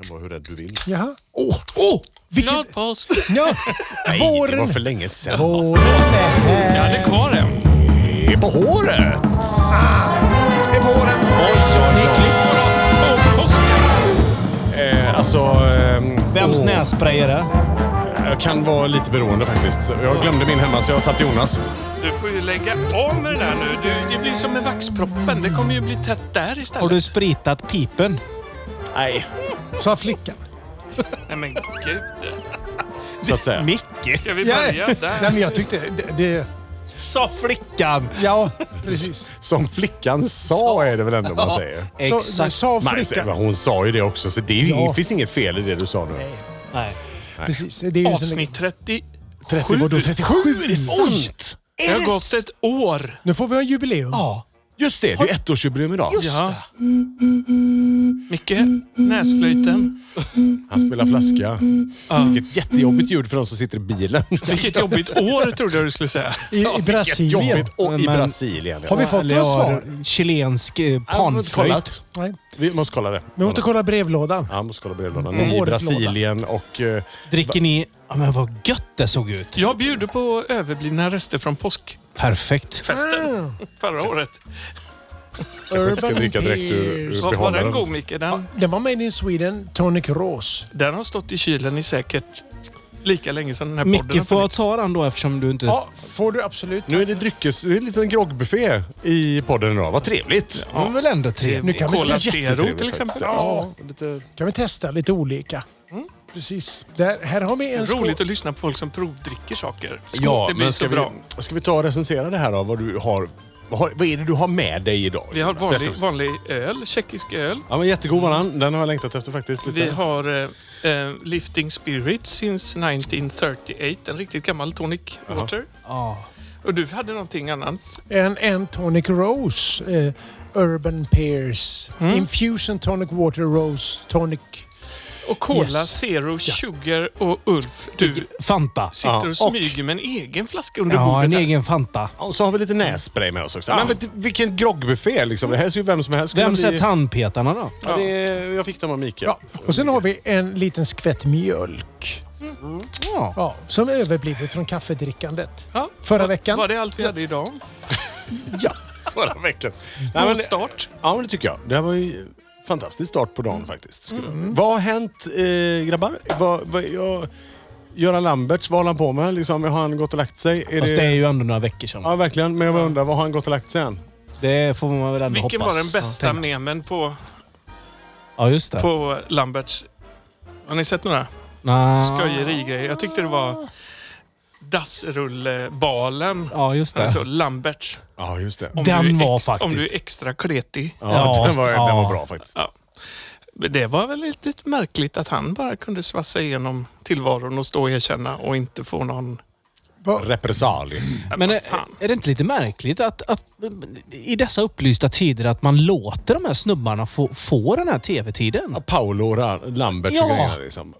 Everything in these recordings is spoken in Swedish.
kan vara hur rädd du vill. Jaha. Åh, åh! Vilket... Glad påsk! Ja, Nej, det våren... var för länge sedan. Våren är Jag här. hade kvar en. Det är på håret! Ah, Det är på håret. Oj, oj, oj. På påsken! Eh, alltså... ehm, Vems åh, nässpray är det? Jag kan vara lite beroende faktiskt. Jag glömde min hemma så jag har tagit Jonas. Du får ju lägga av med det där nu. Du, det blir som med vaxproppen. Det kommer ju bli tätt där istället. Har du spritat pipen? Nej. Sa flickan. Nej men gud. Så att säga. Micke? Ska vi Ja, börja Nej, där? men jag tyckte... Det, det, Sa flickan! ja, precis. Som flickan sa är det väl ändå man säger. Så, Exakt. Sa Nej, flickan. hon sa ju det också, så det är ju, Ja. finns inget fel i det du sa nu. Nej. Precis. Det är ju sån- Avsnitt 30. 30, vadå 37? Är det sant? Det har gått ett år. Nu får vi ha jubileum. Ja, Just det, det är ju ettårsjubileum idag. just Ja. det. Micke, näsflöjten. Han spelar flaska. Vilket jättejobbigt ljud för de som sitter i bilen. Vilket jobbigt år trodde jag du skulle säga. I, I Vilket Brasilien. jobbigt. Och i Men- Brasilien. Har vi fått Eller några jag har svar? Chilensk eh, panflöjt. kollat. Nej. Vi måste kolla det. Vi måste kolla brevlådan. Ja, måste kolla brevlådan. Mm. I Årets Brasilien och... eh, Dricker ni... Ja, men vad gött det såg ut. Jag bjuder på överblivna rester från påskfesten Perfekt. förra året. kanske inte ska dricka direkt ur, ur Var, var den behållaren. god Micke? Den, Den var made in Sweden, Tonic Rose. den har stått i kylen i säkert lika länge som den här podden har Micke, får jag funnits. ta den då eftersom du inte... Ja, får du absolut. Nu är det dryckes... Det är en liten groggbuffé i podden idag. Vad trevligt! Det var väl ändå Nu trevligt? kan vi- Cola Jättetrevligt Zero till faktiskt. exempel. Ja, lite... kan vi testa lite olika. Mm. Precis. Där, här har vi en skål. Roligt att lyssna på folk som provdricker saker. Skål, Ja, det blir men så ska vi, bra. ska vi ta och recensera det här då? Vad du har... Vad, har, vad är det du har med dig idag? Vi har Jonas? vanlig, Berätta. vanlig öl, tjeckisk öl. Ja, men jättegod var den. Den har jag längtat efter faktiskt. Lite. Vi har eh, eh, Lifting Spirit since 1938, en riktigt gammal tonic water. Ja. Och du hade någonting annat. En, en Tonic Rose. Eh, Urban Pears. Infusion Tonic Water Rose Tonic. Och Cola Yes. Zero Sugar och Ulf, du Fanta. sitter och och- smyger med en egen flaska under Ja, bordet. en här. egen Fanta. Ja, och så har vi lite nässpray med oss också. Men vet, du, vilken groggbuffé liksom. Det här ser ju vem som helst kunna Vem ser bli- tandpetarna då? Ja, det är, jag fick den av Mikael. Ja. Och sen har vi en liten skvätt mjölk. Ja. Ja, som överblivit från kaffedrickandet. Ja. Förra Var- veckan. Var det allt vi hade idag? Ja. Förra veckan. Nej, God men, start. ja, men det tycker jag. Det här var ju en fantastisk start på dagen faktiskt. skulle jag- Vad har hänt eh, grabbar? Vad, vad, jag, Göran Lamberts, vad håller han på med? Liksom, har han gått och lagt sig? Är Fast det är ju ändå några veckor sedan. Ja, verkligen. Men jag bara undrar, vad har han gått och lagt sig än? Det får man väl ändå Vilken hoppas. var den bästa Ja, tänk- memen på, Ja, just det. på Lamberts? Har ni sett några? Nå. Sköjerigrejer. Jag tyckte det var dassrullebalen. Ja, just det. Alltså Lamberts. Ja, just det. Om Den du är var extra, Om faktiskt- du är extra kletig. Ja, Ja, den, var, den ja. var bra faktiskt. Ja. Men Det var väl lite märkligt att han bara kunde svassa igenom tillvaron och stå och erkänna och inte få någon... Repressalier. Men är, fan. är det inte lite märkligt att, att i dessa upplysta tider att man låter de här snubbarna få, få den här tv-tiden? Paolo Ra- Lamberts och Ja. grejer. Liksom.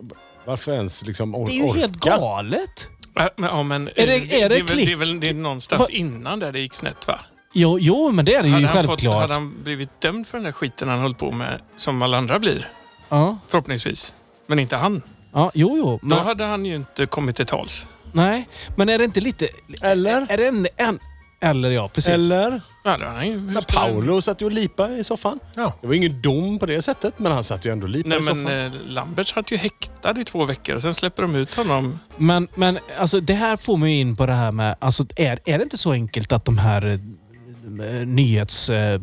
Varför ens liksom or- Det är ju orka? helt galet. Ja, men, ja, men, Är det- är det är väl, klick? det är väl det är någonstans Va- innan där det gick snett va? Jo, jo men det är det ju Hade han, fått, självklart. hade han blivit dömd för den där skiten han höll på med, som alla andra blir, ja, förhoppningsvis. Men inte han. ja, jo, jo. Då Men, hade han ju inte kommit till tals. nej, men är det inte lite... Eller? Är det en, en, eller ja, precis. Eller? Ja, det hade han ju. hur Men skulle han- Paolo satt ju och lipade i soffan. Ja. Det var ingen dom på det sättet, men han satt ju ändå och lipade Nej i soffan. men eh, Lambert satt ju häktad i två veckor och sen släpper de ut honom. Men, men alltså, det här får mig in på det här med... Alltså, är, är det inte så enkelt att de här eh, nyhets... Eh,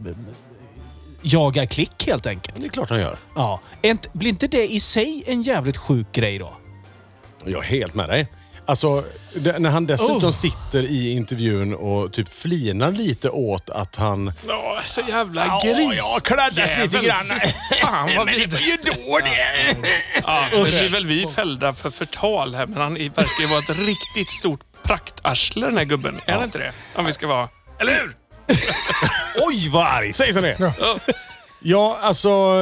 jagar klick helt enkelt? Det är klart han gör. Ja. Är inte, blir inte det i sig en jävligt sjuk grej då? Jag är helt med dig. Alltså, det, när han dessutom Oh. sitter i intervjun och typ flinar lite åt att han... Ja, så jävla gris. Jävel, fy Fan vad vidrigt. ju då det! Ja, nu blir väl vi fällda för förtal här, men han är- verkar ju vara ett riktigt stort praktarsle den här gubben. Är det inte det? Om vi ska vara... Eller hur? Oj, vad argt! Säg som det är. Ja, alltså...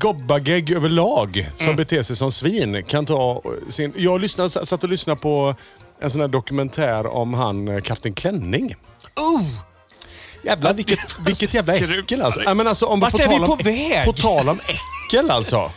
Gobbagägg överlag Mm. som beter sig som svin kan ta sin... Jag lyssnade, satt och lyssnade på en sån här dokumentär om han eh, Kapten Klänning. Oh! Jävlar vilket, vilket jävla äckel alltså. Ja, men alltså om Vart på är vi tal om på äck- väg? På tal om äckel alltså.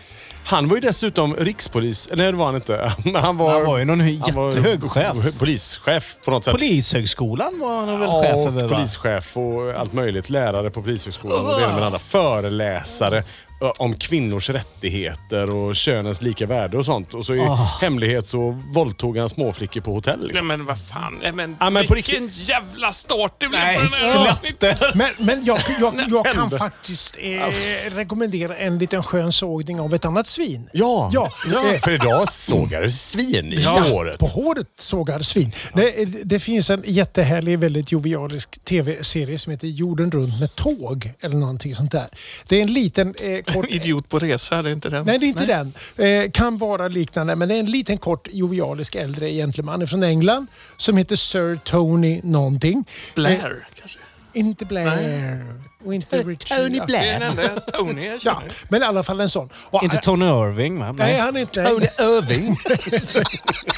Han var ju dessutom rikspolis. Nej, det var han inte. Men Han var, Han var ju någon han var jättehög chef. Polischef på något sätt. Polishögskolan var han väl Ja, chef och över? va? polischef och allt möjligt. Lärare på polishögskolan och det ena med det andra. Föreläsare ö, om kvinnors rättigheter och könens lika värde och sånt. Och så i Ah. hemlighet så våldtog han småflickor på hotell. Nej Liksom. men vad fan. Nej, men, Ja, men på vilken jävla start det blev Nej, på den här avsnittet. släppte. Men, men jag, jag, jag kan Hände. faktiskt eh, rekommendera en liten skön sågning av ett annat svin. Ja, Ja. Eh, för idag sågar du svin i håret. På håret sågar svin. Det, det finns en jättehärlig, väldigt jovialisk tv-serie som heter Jorden runt med tåg. Eller någonting sånt där. Det är en liten eh, kort... Idiot på resa, det är inte den. Nej, det är inte den. Eh, kan vara liknande, men det är en liten kort jovialisk äldre gentleman från England som heter Sir Tony någonting. Eh, Blair, kanske. inte Blair. Och inte Tony Richard. Ja. Blair. Det är den enda Tony jag Ja, känner. men i alla fall en sån. Och, Inte Tony Irving va? Nej, han är inte. Irving.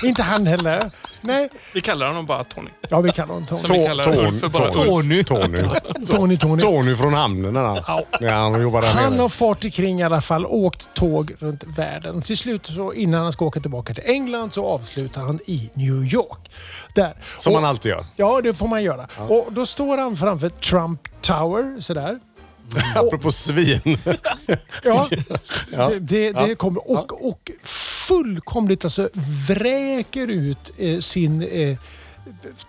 Inte han heller. Nej. Vi kallar honom bara Tony. Ja, vi kallar honom Tony. Som vi kallar Ulf för bara Ulf. Tony. Tony. Tony, Tony. Tony från hamnen när han, när han jobbar där Han nere. har fart kring i alla fall, åkt tåg runt världen. Till slut, så innan han ska åka tillbaka till England, så avslutar han i New York. Där. Som Och- man alltid gör. Ja, det får man göra. Och då står han framför Trump Tower, sådär. Apropå svin. Ja, Det, det, det kommer. Och, och fullkomligt alltså vräker ut eh, sin eh,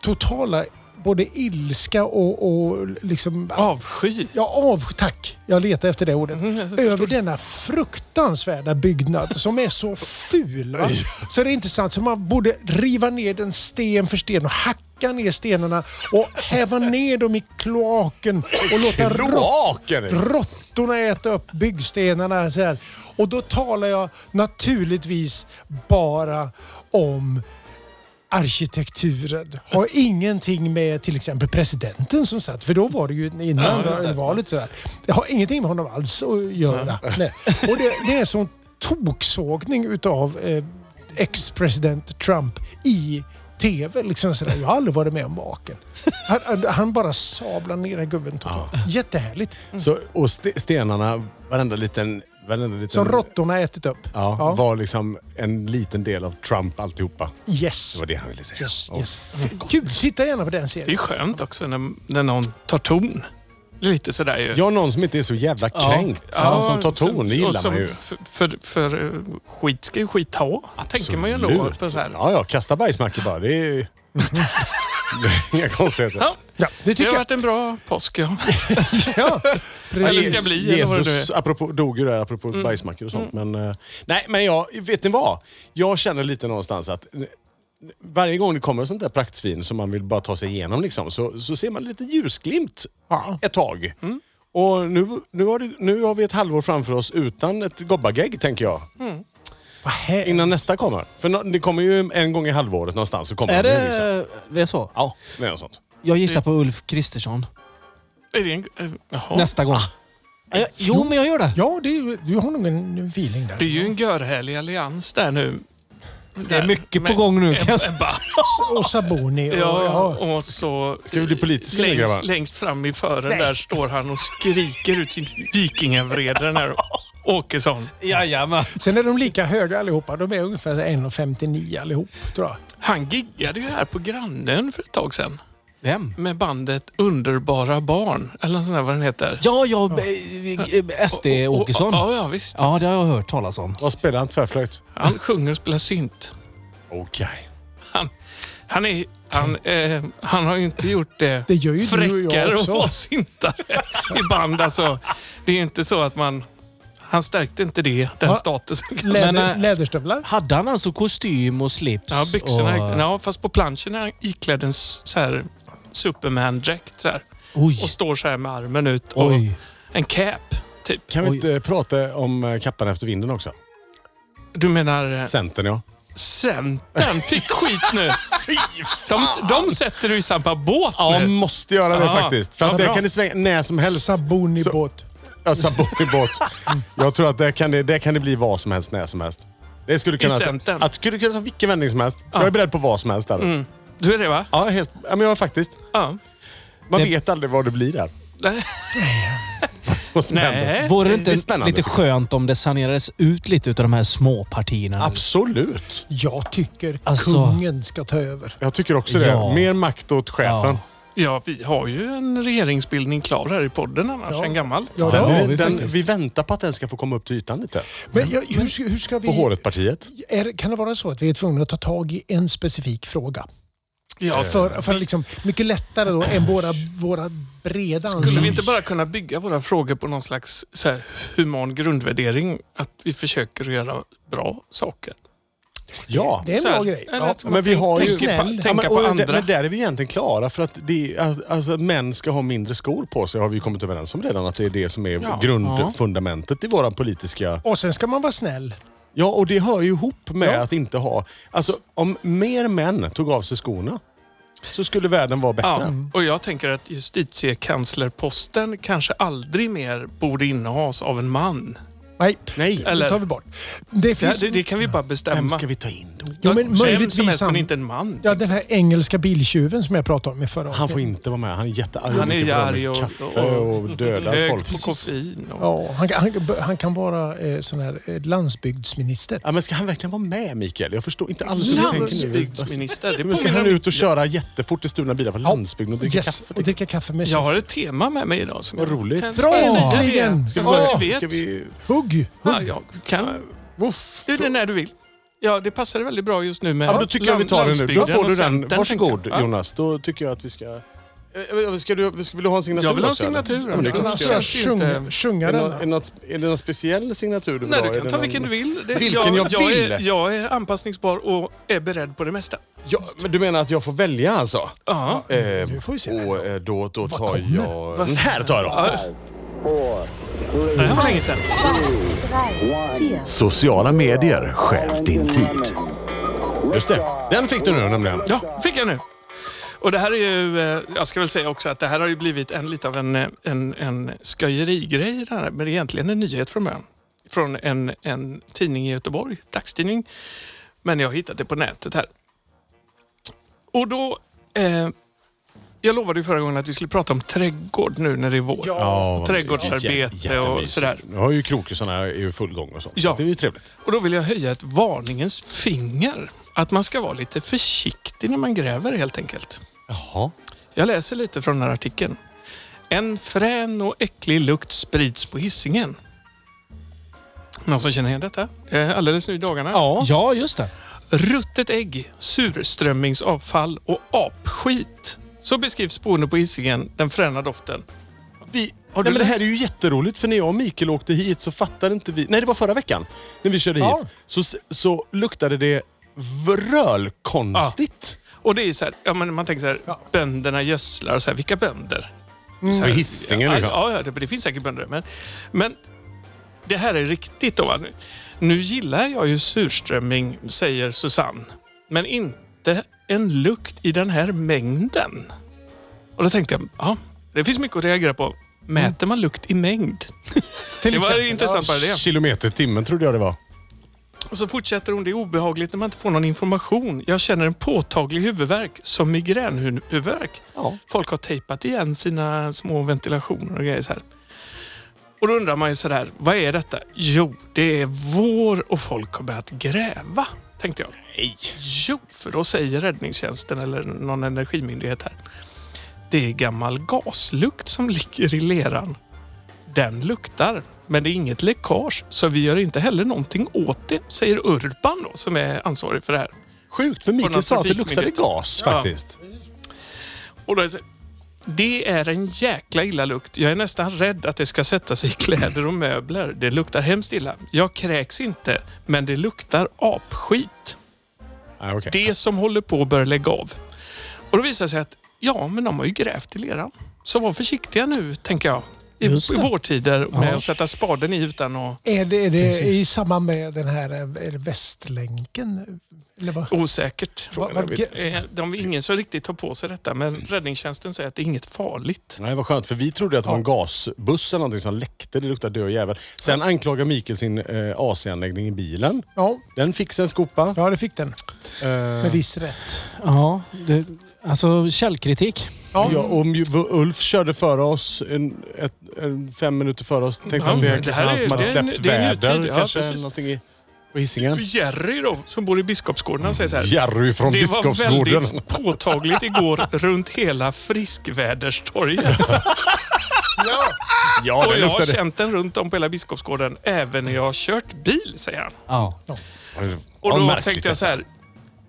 totala både ilska och, och liksom... Avsky. Ja, av, tack. Jag letar efter det ordet. Över denna fruktansvärda byggnad som är så ful. Va? Så det är inte sant. Så man borde riva ner den sten för sten och hacka ner stenarna och häva ner dem i kloaken och låta rå Kloaken! råttorna äta upp byggstenarna. Så här. Och då talar jag naturligtvis bara om arkitekturen. Har ingenting med till exempel presidenten som satt, för då var det ju innan valet. Så här. Det har ingenting med honom alls att göra. Nej. Och det, det är sån toksågning utav eh, ex-president Trump i TV. Liksom sådär. Jag har aldrig varit med om maken. Han, han- han bara sablar ner den gubben totalt. Jättehärligt. Så, och ste- stenarna, varenda liten... Varenda liten Som råttorna ätit upp. ja, var liksom en liten del av Trump alltihopa. Yes. Det var det han ville säga. yes, Och yes. Kul, titta gärna på den Det är ju serien. skönt också när, när någon tar ton. Lite sådär ju. Ja, någon som inte är så jävla kränkt. Ja, som tar ton, som- det och gillar som- man ju. För, för, för eh, skit ska ju skit ha, tänker man ju ändå. Absolut. På så här. Ja, ja, kasta bajsmackor bara. Det är ju... Det är Inga konstigheter. Ja, Ja, det det tycker har jag. varit en bra påsk. Ja. Ja, Eller precis. ska bli, eller vad det nu Jesus är. Mm. apropå, dog ju där apropå bajsmackor och sånt. Men, eh, nej, men jag, vet ni vad? Jag känner lite någonstans att eh, varje gång det kommer sånt där praktsvin som man vill bara ta sig igenom liksom, så, så ser man lite ljusglimt Ja. ett tag. Mm. Och nu, nu, har det, nu har vi ett halvår framför oss utan ett gobbagegg, tänker jag. Mm. Vad här- Innan nästa kommer. För nå- det kommer ju en gång i halvåret någonstans. Så kommer Är det... Liksom. det, det är så? Ja, det är något sånt. Jag gissar på Ulf Kristersson Är det en, eh, jaha. nästa gång. Ja, jag- jo, men jag gör det. Ja, det är, ju- du har nog en feeling det är där. ju en görhärlig allians där nu. Det är mycket på gång nu kan jag säga. Ebba. Och Saboni. Och, Ja, ja. och så... Ska vi bli politiska nu, längst, grabbar? längst fram i fören där står han och skriker ut sin vikingavrede den här Åkesson. Jajamän. Sen är de lika höga allihopa. De är ungefär 1,59 allihop, tror jag. Han giggade ju här på Grannön för ett tag sedan. Vem? Med bandet Underbara barn. Eller något sånt där vad den heter. Ja, jag... eh, SD Och- och- Åkesson. Ja, ja visst. Ja, det har jag hört talas om. Vad spelar han tvärflöjt? Han sjunger och spelar synt. Okej. Han, han, är, han, eh, han har ju inte gjort det, Det gör ju du och jag fräckare att också. vara syntare i band. Alltså, det är inte så att man... Han stärkte inte det, den Ja. statusen. kanske. Läder, eh, Men, äh, läderstövlar. Hade han alltså kostym och slips? Ja, byxorna. Och... Ja, fast på planschen är han iklädd en s- så här Superman-dräkt. Så här, Oj. och står så här med armen ut och Oj. en cap, typ. Kan vi Oj. inte prata om eh, kappan efter vinden också? Du menar... eh, Centern, ja. Centern fick skit nu. de, de sätter du i samma båt Ja, nu. måste göra det Ja, faktiskt. För så att där bra. kan det svänga när som helst. Så- Sabonibåt. Ja, Sabonibåt. Jag tror att där kan, det, där kan det bli vad som helst när som helst. Det skulle kunna, centern. Mm. att, skulle kunna ta vilken vändning som helst. Jag är beredd på vad som helst där. Du är det va? Ja, helt, ja, men jag är faktiskt. Ja. Man Det- vet aldrig vad det blir där. Nej. vad som Nej. händer. Vore det inte Det är spännande, lite tycker skönt om det sanerades ut lite utav de här små partierna? Absolut. Jag tycker Alltså- kungen ska ta över. Jag tycker också det. Ja. Mer makt åt chefen. Ja, vi har ju en regeringsbildning klar här i podden annars, Ja. en gammal. Ja, Sen, det har vi, vi den, faktiskt. vi väntar på att den ska få komma upp till ytan lite. Men jag, hur, ska- hur ska vi... På håret-partiet. Är, kan det vara så att vi är tvungna att ta tag i en specifik fråga? Ja, För, för liksom, mycket lättare då än våra, våra breda Skulle vi ansikten. inte bara kunna bygga våra frågor på någon slags så här, human grundvärdering? Att vi försöker att göra bra saker. Ja. Det är en Så här, bra grej. eller Ja. att man Men vi har ju... tänker snäll. på, Ja, tänka men, på och, andra. det- men där är vi egentligen klara för att det, alltså, att män ska ha mindre skor på sig har vi ju kommit överens om redan att det är det som är Ja. grundfundamentet i våra politiska... Och sen ska man vara snäll. Ja, och det hör ju ihop med Ja. att inte ha... Alltså, om mer män tog av sig skorna så skulle världen vara bättre. ja, och jag tänker att justitiekanslerposten kanske aldrig mer borde innehas av en man. Nej, Nej, det Eller- tar vi bort. Det Det, här- finns... det, det kan vi bara bestämma. vem ska vi ta in då? Jo, men Vem som möjligtvis helst, men han, inte en man. ja, den här engelska biltjuven som jag pratade om i förra Han får avsnittet. inte vara med. Han är jättearg. Han är dricker för arg och- kaffe och, dödar Hög folk. Eh, på koffein. Och, Ja, han, kan- han, kan- han kan vara eh, sån här eh, landsbygdsminister. Ja, men ska han verkligen vara med Mikael? Jag förstår inte alls hur du tänker nu. Landsbygdsminister. Det Men ska påminner han om- ut och köra jättefort i stulna bilar på landsbygden och dricka Yes, kaffe? och dricka kaffe med Jag har ett tema med mig idag. Som Vad jag roligt. kan- Bra! Säg det. Äntligen! Så Ja, att vi Ska vet. vi... Hugg! Ja, hugg. jag kan. Woof. Du, det är när du vill. Ja, det passade väldigt bra just nu med Ja, men då tycker jag vi tar den nu. Då landsbygden får du och den. Centern, Varsågod tänkte jag. Ja. Jonas. Då tycker jag att vi ska... Eh, Ska du, ska, vill du ha en signatur Jag vill ha en också, eller? signatur, Ja, men det är klart annars du ska göra. känns det ju inte- Sjung- Sjunga Är det, någon, är, det den. något, är det någon speciell signatur du vill Nej, ha? du Är kan det ta någon- vilken du vill. Det- Vilken jag vill. Är, jag är anpassningsbar och är beredd på det mesta. Ja, men du menar att jag får välja alltså? Ja. Eh, Nu får vi se. och eh, då, då tar kommer? jag... Den här tar jag då. Det här var länge sedan. Sociala medier stjäl din tid. Just det. Den fick du nu nämligen. Ja, fick jag nu. Och det här är ju, eh, jag ska väl säga också att det här har ju blivit en, lite av en, eh, en, en sköjerigrej, det här, men det är egentligen en nyhet från början. Från en, en tidning i Göteborg, dagstidning. Men jag har hittat det på nätet här. Och då, eh, jag lovade ju förra gången att vi skulle prata om trädgård nu när det är vår. Ja, vad Trädgårdsarbete mysigt. Jä- och jättemysigt. sådär. Nu har ju krokusarna i full gång och sånt. Ja. Så det är ju trevligt. Och då vill jag höja ett varningens finger. Att man ska vara lite försiktig när man gräver helt enkelt. Jaha. Jag läser lite från den här artikeln. En frän och äcklig lukt sprids på hissingen. Någon som känner igen detta? Eh, Alldeles nu i dagarna. Ja. Ja, just det. Ruttet ägg, surströmmingsavfall och apskit. Så beskrivs boende på hissingen den fräna doften. Vi, Har du nej, men det här läst? är ju jätteroligt för när jag och Mikael åkte hit så fattade inte vi... Nej, det var förra veckan. När vi körde Ja. hit så, så luktade det vrölkonstigt. Och det är så här, ja, men man tänker så här, bönderna gödslar. Så här, vilka bönder? Mm. Så På här, Hisingen liksom. Ja, ja det, det finns säkert bönder. Men, men det här är riktigt. Då, va? Nu, nu gillar jag ju surströmming, säger Susanne. Men inte en lukt i den här mängden. Och då tänkte jag, ja, det finns mycket att reagera på. Mäter man lukt i mängd? Det var ju intressant bara det. Kilometer i timmen trodde jag det var. Och så fortsätter hon, det är obehagligt när man inte får någon information. Jag känner en påtaglig huvudvärk, som migränhuvudvärk. Ja. Folk har tejpat igen sina små ventilationer och grejer så här. Och då undrar man ju sådär, vad är detta? Jo, det är vår och folk har börjat gräva, tänkte jag. Nej. Jo, för då säger räddningstjänsten eller någon energimyndighet här. Det är gammal gaslukt som ligger i leran. Den luktar, men det är inget läckage så vi gör inte heller någonting åt det, säger Urban då, som är ansvarig för det här. Sjukt, för någon Mikael sa att det luktade trafikmyndighet. gas Ja. faktiskt. Och då är det, så, här, det är en jäkla illa lukt. Jag är nästan rädd att det ska sätta sig i kläder och möbler. Det luktar hemskt illa. Jag kräks inte, men det luktar apskit. Nej, okej. Det som håller på bör lägga av. Och då visar det sig att ja, men de har ju grävt i leran. Så var försiktiga nu, tänker jag. I, i Just det. vårtider med att sätta spaden i utan att Är det, är det i samband med den här eh, är det Västlänken? Eller vad? Osäkert. Vad- vad- Eh, De vill ingen så riktigt ta på sig detta, men räddningstjänsten säger att det är inget farligt. Nej, vad skönt. För vi trodde att det var en gasbuss eller någonting som läckte. Det luktade död jävel. Sen anklagar Mikael sin eh, AC-anläggning i bilen. Ja, Den fick sig en skopa. ja, det fick den. Eh, Med viss rätt. Ja, det, alltså källkritik. Ja. Ja, och Mju- Ulf körde före oss, en, ett, en, fem minuter före oss. Tänkte Ja, att det, men det här han är- som hade det är en- släppt det är en väder nutid. Ja, kanske. precis. någonting i, på Hisingen. Jerry då, som bor i Biskopsgården, han säger så här. Jerry från Det var Biskopsgården. väldigt påtagligt igår runt hela Friskväderstorget. Ja, Och det jag har luktade... känt den runt om på hela Biskopsgården även när jag har kört bil, säger han. Ja. Och Ja, då märkligt tänkte detta. jag så här.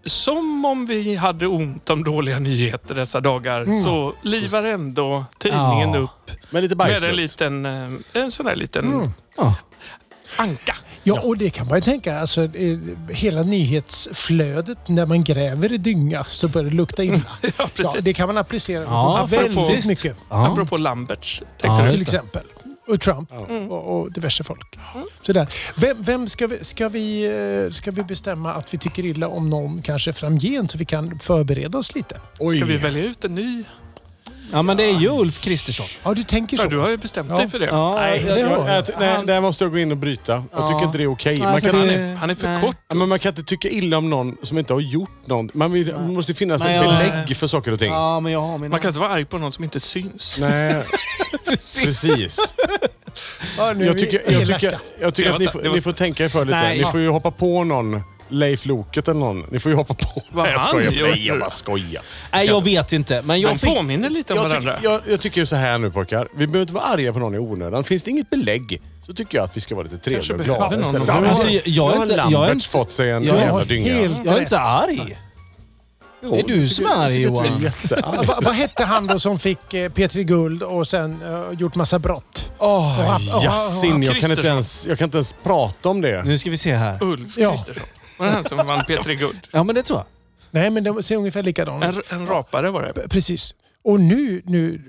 Som om vi hade ont om dåliga nyheter dessa dagar så livar ändå tidningen Ja. upp Men lite med en bajslukt. liten, eh, en sån där liten Ja. anka. Ja, och det kan man ju tänka. Alltså, eh, hela nyhetsflödet, när man gräver i dynga så börjar det lukta illa. Ja, precis. det kan man applicera Ja, på väldigt faktiskt. mycket. Ja. Apropå Lamberts. Tänkte Ja, du? till just det. exempel. Och Trump och, och diverse folk. Sådär. Vem, vem ska, vi, ska, vi, eh, ska vi bestämma att vi tycker illa om någon kanske framgent så vi kan förbereda oss lite? Oj. Ska vi välja ut en ny? ja, men det är ju Ulf Kristersson. Ja, du tänker Ja, så. du har ju bestämt Ja. dig för det. Ja, Nej, alltså, jag, jag- jag, nej, han- där måste jag gå in och bryta. Jag Ja. tycker inte det är okej. Nej, Man för kan- det- Han är för Nej. kort. Ja, men man kan inte tycka illa om någon som inte har gjort något. Man vill, det måste ju finnas Nej, ett jag- belägg för saker och ting. Ja, men jag har mina. Man kan inte vara arg på någon som inte syns. Nej, precis. Ja, nu är Jag vi tycker, jag elaka. tycker, jag tycker Det att var- ni får, det var- ni får tänka er för lite. Nej, ni ja. får ju hoppa på någon. Leif Loket eller någon. Ni får ju hoppa på... Vad Nej, jag han skojar. gör Nej, jag nu. bara skojar. Nej, jag vet inte. Men jag De fick... påminner lite om Jag, varandra. tycker- jag, jag tycker ju så här nu pojkar. Vi behöver inte vara arga på någon i onödan. Finns det inget belägg så tycker jag att vi ska vara lite Kanske trevliga och glada behöver någon istället. av dem. Nu har- Alltså, jag- jag är nu har inte- jag är Lambert inte- fått sig en jag är jävla helt- dynga. Jag är inte arg. Det är du som är arg Johan. Ja, vad, vad hette han då som fick eh, P3 Guld och sen eh, gjort massa brott? Åh, oh, Yasin. Jag kan, inte Kristersson. ens, jag kan inte ens prata om det. Nu ska vi se här. Ulf Ja. Kristersson. Var det han som vann P3 Guld? Ja, men det tror jag. Nej, men de ser ungefär likadana ut. En, en rapare var det. P- Precis. Och nu, nu...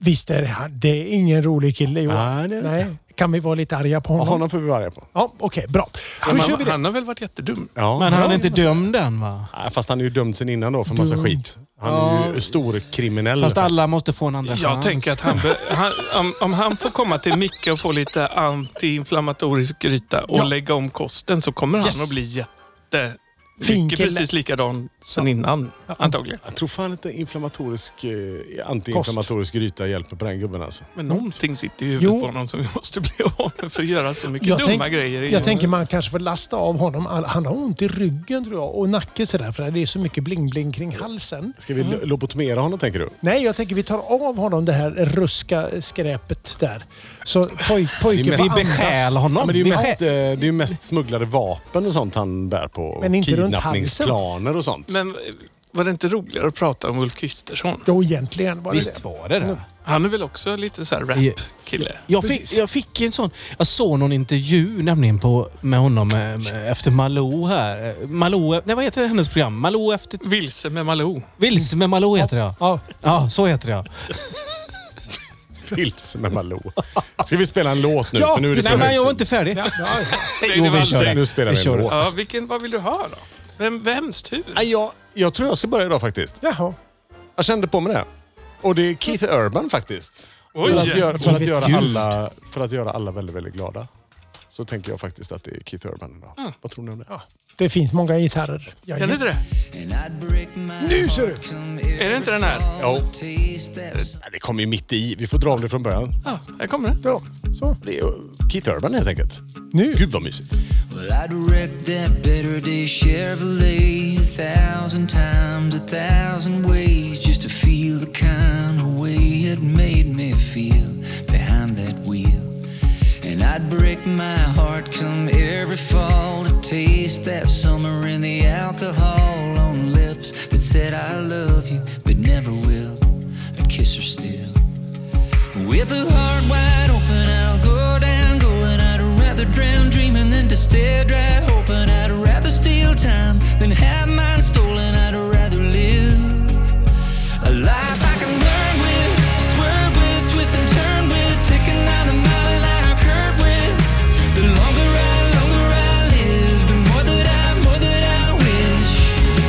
Visst är det här, det är ingen rolig kille Johan. Nej, det är det Nej. Kan vi vara lite arga på Ja, honom? Honom får vi vara arga på. Ja, okej, bra. Då Men kör vi han, det. han har väl varit jättedum? Ja. Men han är inte dömd än va? Nej, Fast han är ju dömd sen innan då för massa skit. Han är ju stor kriminell. Fast alla måste få en andra Jag chans. tänker att han, be, han om, om han får komma till Micke och få lite antiinflammatorisk gryta och lägga om kosten så kommer han Yes. att bli jätte... Fin Micke kille. precis likadan sen innan, antagligen. Jag tror fan inte inflammatorisk, eh, antiinflammatorisk gryta hjälper på den gubben alltså. Men någonting sitter i huvudet Mm. Jo. på honom som vi måste bli av med för att göra så mycket Jag dumma tänk- grejer. i- Jag tänker man kanske får lasta av honom. all- Han har ont i ryggen tror jag och nacken sådär för det är så mycket bling-bling kring halsen. Ska vi lo- lobotomera honom tänker du? Nej, jag tänker vi tar av honom det här ruska skräpet där. Så poj, pojken mest- får Vi andas. besjäl honom. Ja, men det är ju Vi- mest, eh, det är ju mest smugglade vapen och sånt han bär på. Men inte runt Kidnappningsplaner och sånt. Men eh, var det inte roligare att prata om Ulf Kristersson? Jo, egentligen var det Visst var det det. Han är väl också lite så här Ja. rap-kille? Jag fick, jag fick en sån... Jag såg någon intervju nämligen på, med honom eh, med, efter Malou här. Eh, Malou... Nej, vad heter hennes program? Malou efter... Vilse med Malou. Vilse med Malou heter jag. Ja. Ja, så heter jag. Vilse med Malou. Ska vi spela en låt nu? Ja, För nu är det Nej, så men jag var högt. inte färdig. det. Ja, ja. Jo, det var vi kör aldrig- det. Nu spelar vi en kör det. låt. Ja, vilken, vad vill du ha då? Vem, vems tur? Nej, jag, jag tror jag ska börja idag faktiskt. Jaha. Jag kände på mig det. Och det är Keith Urban faktiskt. Oj! För att, göra, för, att Givet göra ljud. alla, för att göra alla väldigt, väldigt glada. Så tänker jag faktiskt att det är Keith Urban idag. Vad tror ni om det? Det är fint, många gitarrer. Ja, Är det ja. inte det? Nu ser du! Är det inte den här? Jo. Ja, det kommer ju mitt i. Vi får dra om det från början. Ja, här kommer den. Bra. Så. Det är ju Keith Urban helt enkelt. Nu. Gud vad mysigt. Well, I'd wreck that better day Chevrolet a thousand times, a thousand ways, just to feel the kind of way it made me feel behind that wheel. And I'd break my heart come every fall to taste that summer in the alcohol on lips that said I love you but never will. I'd kiss her still. With a heart wide open, I'll go down, going. I'd rather drown dreaming than to stay dry hoping. I'd rather steal time than have mine stolen. I'd rather live a life I can learn with, swerve with, twist and turn with, taking down the mile and I hurt with. The longer I, longer I live, the more that I, more that I wish.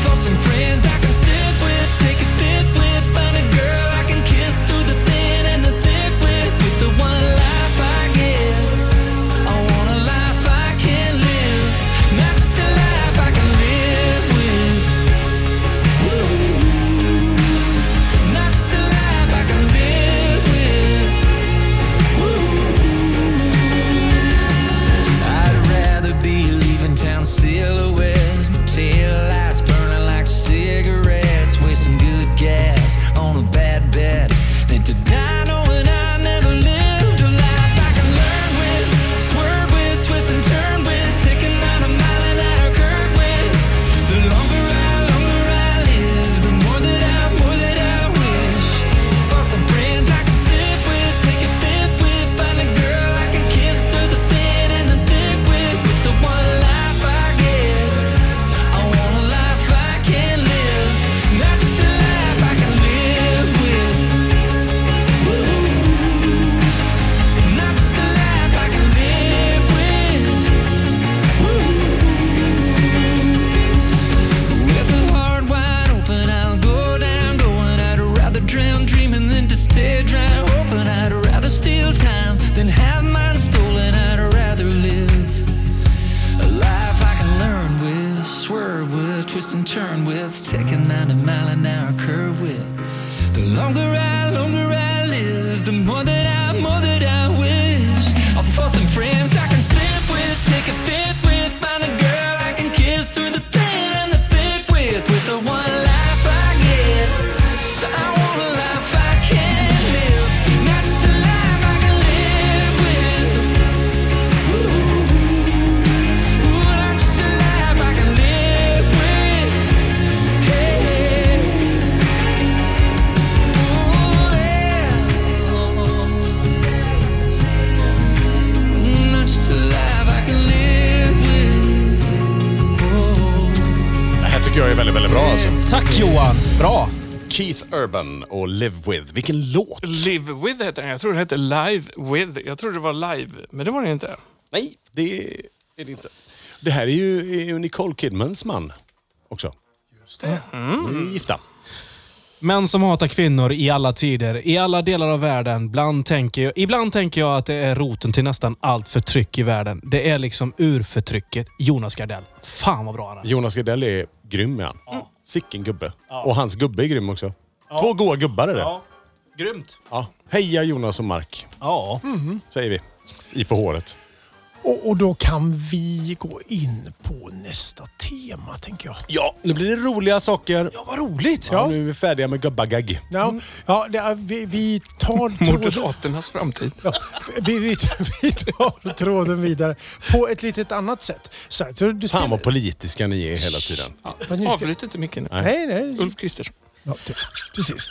For some friends I can sit with, take a fit with, find a girl I can kiss through the thin and the thick with. With the one life I get, I want a life I can live, not just a life I can live with. twist and turn with, taking 90 mile an hour curve with. The longer I, longer I live, the more that I, more that I wish. I'll for some friends I can sip with, take a fifth with, find a girl I can kiss through the thin and the thick with, with the one life I get. I want a life I can live, not just a life I can live with. Ooh, not just a life I can live with. Hey, ooh, yeah. Not just alive, I can live with. Oh. Det här tycker jag är väldigt, väldigt bra alltså. Tack Johan! Bra! Keith Urban och Live With. Vilken låt! Live With heter den. Jag tror den heter Live With. Jag trodde det var live, men det var det inte. Nej, det är det inte. Det här är ju är ju Nicole Kidmans man också. Just det. De är ju gifta. Män som hatar kvinnor i alla tider, i alla delar av världen. Ibland tänker jag, ibland tänker jag att det är roten till nästan allt förtryck i världen. Det är liksom urförtrycket. Jonas Gardell. Fan vad bra han är. Jonas Gardell är grym är han. Sicken gubbe. Och hans gubbe är grym också. Två goa gubbar är det. Ja. Grymt. Heja Jonas och Mark, Ja. säger vi. I på håret. Och, och då kan vi gå in på nästa tema, tänker jag. Ja, nu blir det roliga saker. Ja, vad roligt! Ja, nu är vi färdiga med gubbagagg. Ja, ja det, är- vi, vi tar tråden... Moderaternas framtid. Ja, vi, vi, vi tar tråden vidare på ett litet annat sätt. Så, här, så Fan du spelar, vad politiska ni är hela tiden. Men nu ska- Avbryt inte mycket nu. nej, nej. Ulf Kristersson. Ja, te- precis.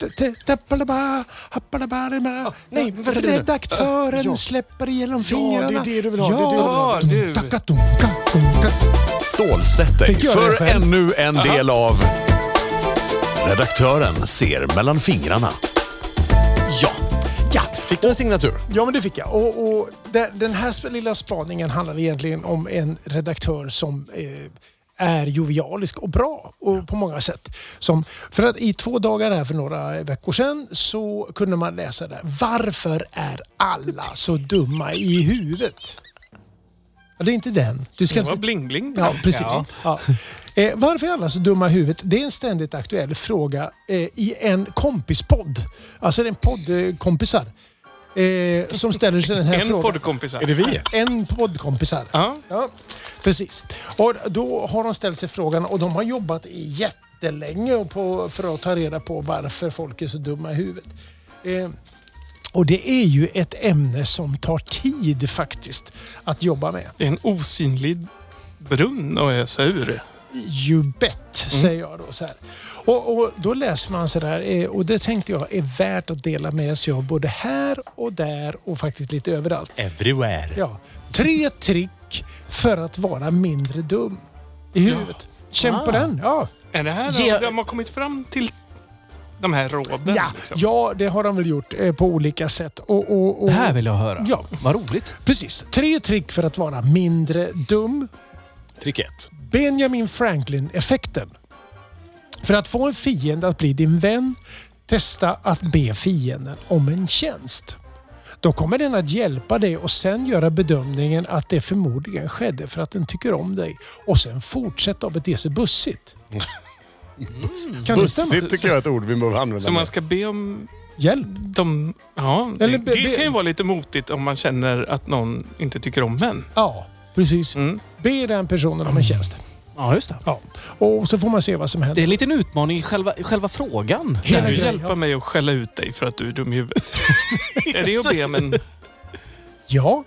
Te- te- tappalaba, happalaba, det menar- nej, men vänta lite. Redaktören släpper igenom fingrarna. det är det du vill ha, det är det du vill Ja, ha. du. Dunka, dunka, dunka. Stålsätt dig Fick jag det för själv? ännu en del av Redaktören ser mellan fingrarna. Ja. ja. Fick du en signatur? Ja, men det fick jag. Och, och där, den här sp- lilla spaningen handlar egentligen om en redaktör som eh, är jovialisk och bra och på många sätt. Som, för att i två dagar här för några veckor sedan så kunde man läsa där. Varför är alla så dumma i huvudet? Ja, det är inte den. Du ska Det inte var bling-bling. Ja, precis. Ja. Ja. Eh, varför är alla så dumma i huvudet? Det är en ständigt aktuell fråga eh, i en kompispodd. Alltså det är en podd eh, kompisar eh, som ställer sig den här En frågan. Är poddkompisar. det vi? En poddkompisar. Ja. Ja, precis. Och då har de ställt sig frågan och de har jobbat i jättelänge och på, för att ta reda på varför folk är så dumma i huvudet. Eh, och det är ju ett ämne som tar tid faktiskt att jobba med. Det är en osynlig brunn att ösa ur. You bet, säger jag då. Så här. Och, och Då läser man så där eh, och det tänkte jag är värt att dela med sig av både här och där och faktiskt lite överallt. Everywhere. Ja. Tre trick för att vara mindre dum i huvudet. Känn på den. Ja. Är det här Ge- de har kommit fram till de här råden? Ja, liksom? ja, det har de väl gjort eh, på olika sätt. Och, och, och, Det här vill jag höra. Ja. Vad roligt. Precis. Tre trick för att vara mindre dum. Trick ett. Benjamin Franklin-effekten. För att få en fiende att bli din vän, testa att be fienden om en tjänst. Då kommer den att hjälpa dig och sen göra bedömningen att det förmodligen skedde för att den tycker om dig. Och sen fortsätta att bete sig bussigt. Kan det stämma? Bussigt tycker jag är ett ord vi behöver använda. Så man ska be om Hjälp. de... Ja, Eller det, be- det be- kan ju vara lite motigt om man känner att någon inte tycker om en. Ja, precis. Mm. Be den personen om en tjänst. Ja, just det. Ja. Och så får man se vad som Det är händer. en liten utmaning i själva, i själva frågan. Hela Kan du grejen, hjälpa ja. mig att skälla ut dig för att du är dum i huvudet? är det att be om en... Ja.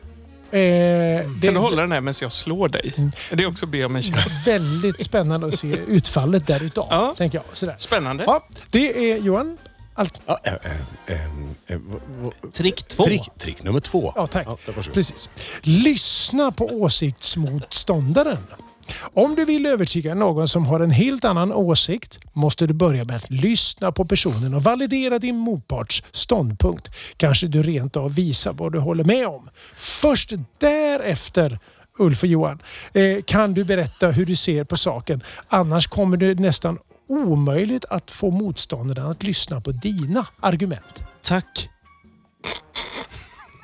Eh, det Mm. Kan du är hålla den här medan jag slår dig? Är det är också att be om en tjänst? väldigt spännande att se utfallet därutav. Ja. Tänker jag. Sådär. Spännande. Ja, det är Johan. Allt. Ja, eh, eh, eh, v- v- Trick två. Trick, trick nummer två. Ja, tack. Ja, varsågod. Precis. Lyssna på åsiktsmotståndaren. Om du vill övertyga någon som har en helt annan åsikt måste du börja med att lyssna på personen och validera din motparts ståndpunkt. Kanske du rent av visar vad du håller med om. Först därefter Ulf och Johan, eh, kan du berätta hur du ser på saken? Annars kommer det nästan omöjligt att få motståndaren att lyssna på dina argument. Tack.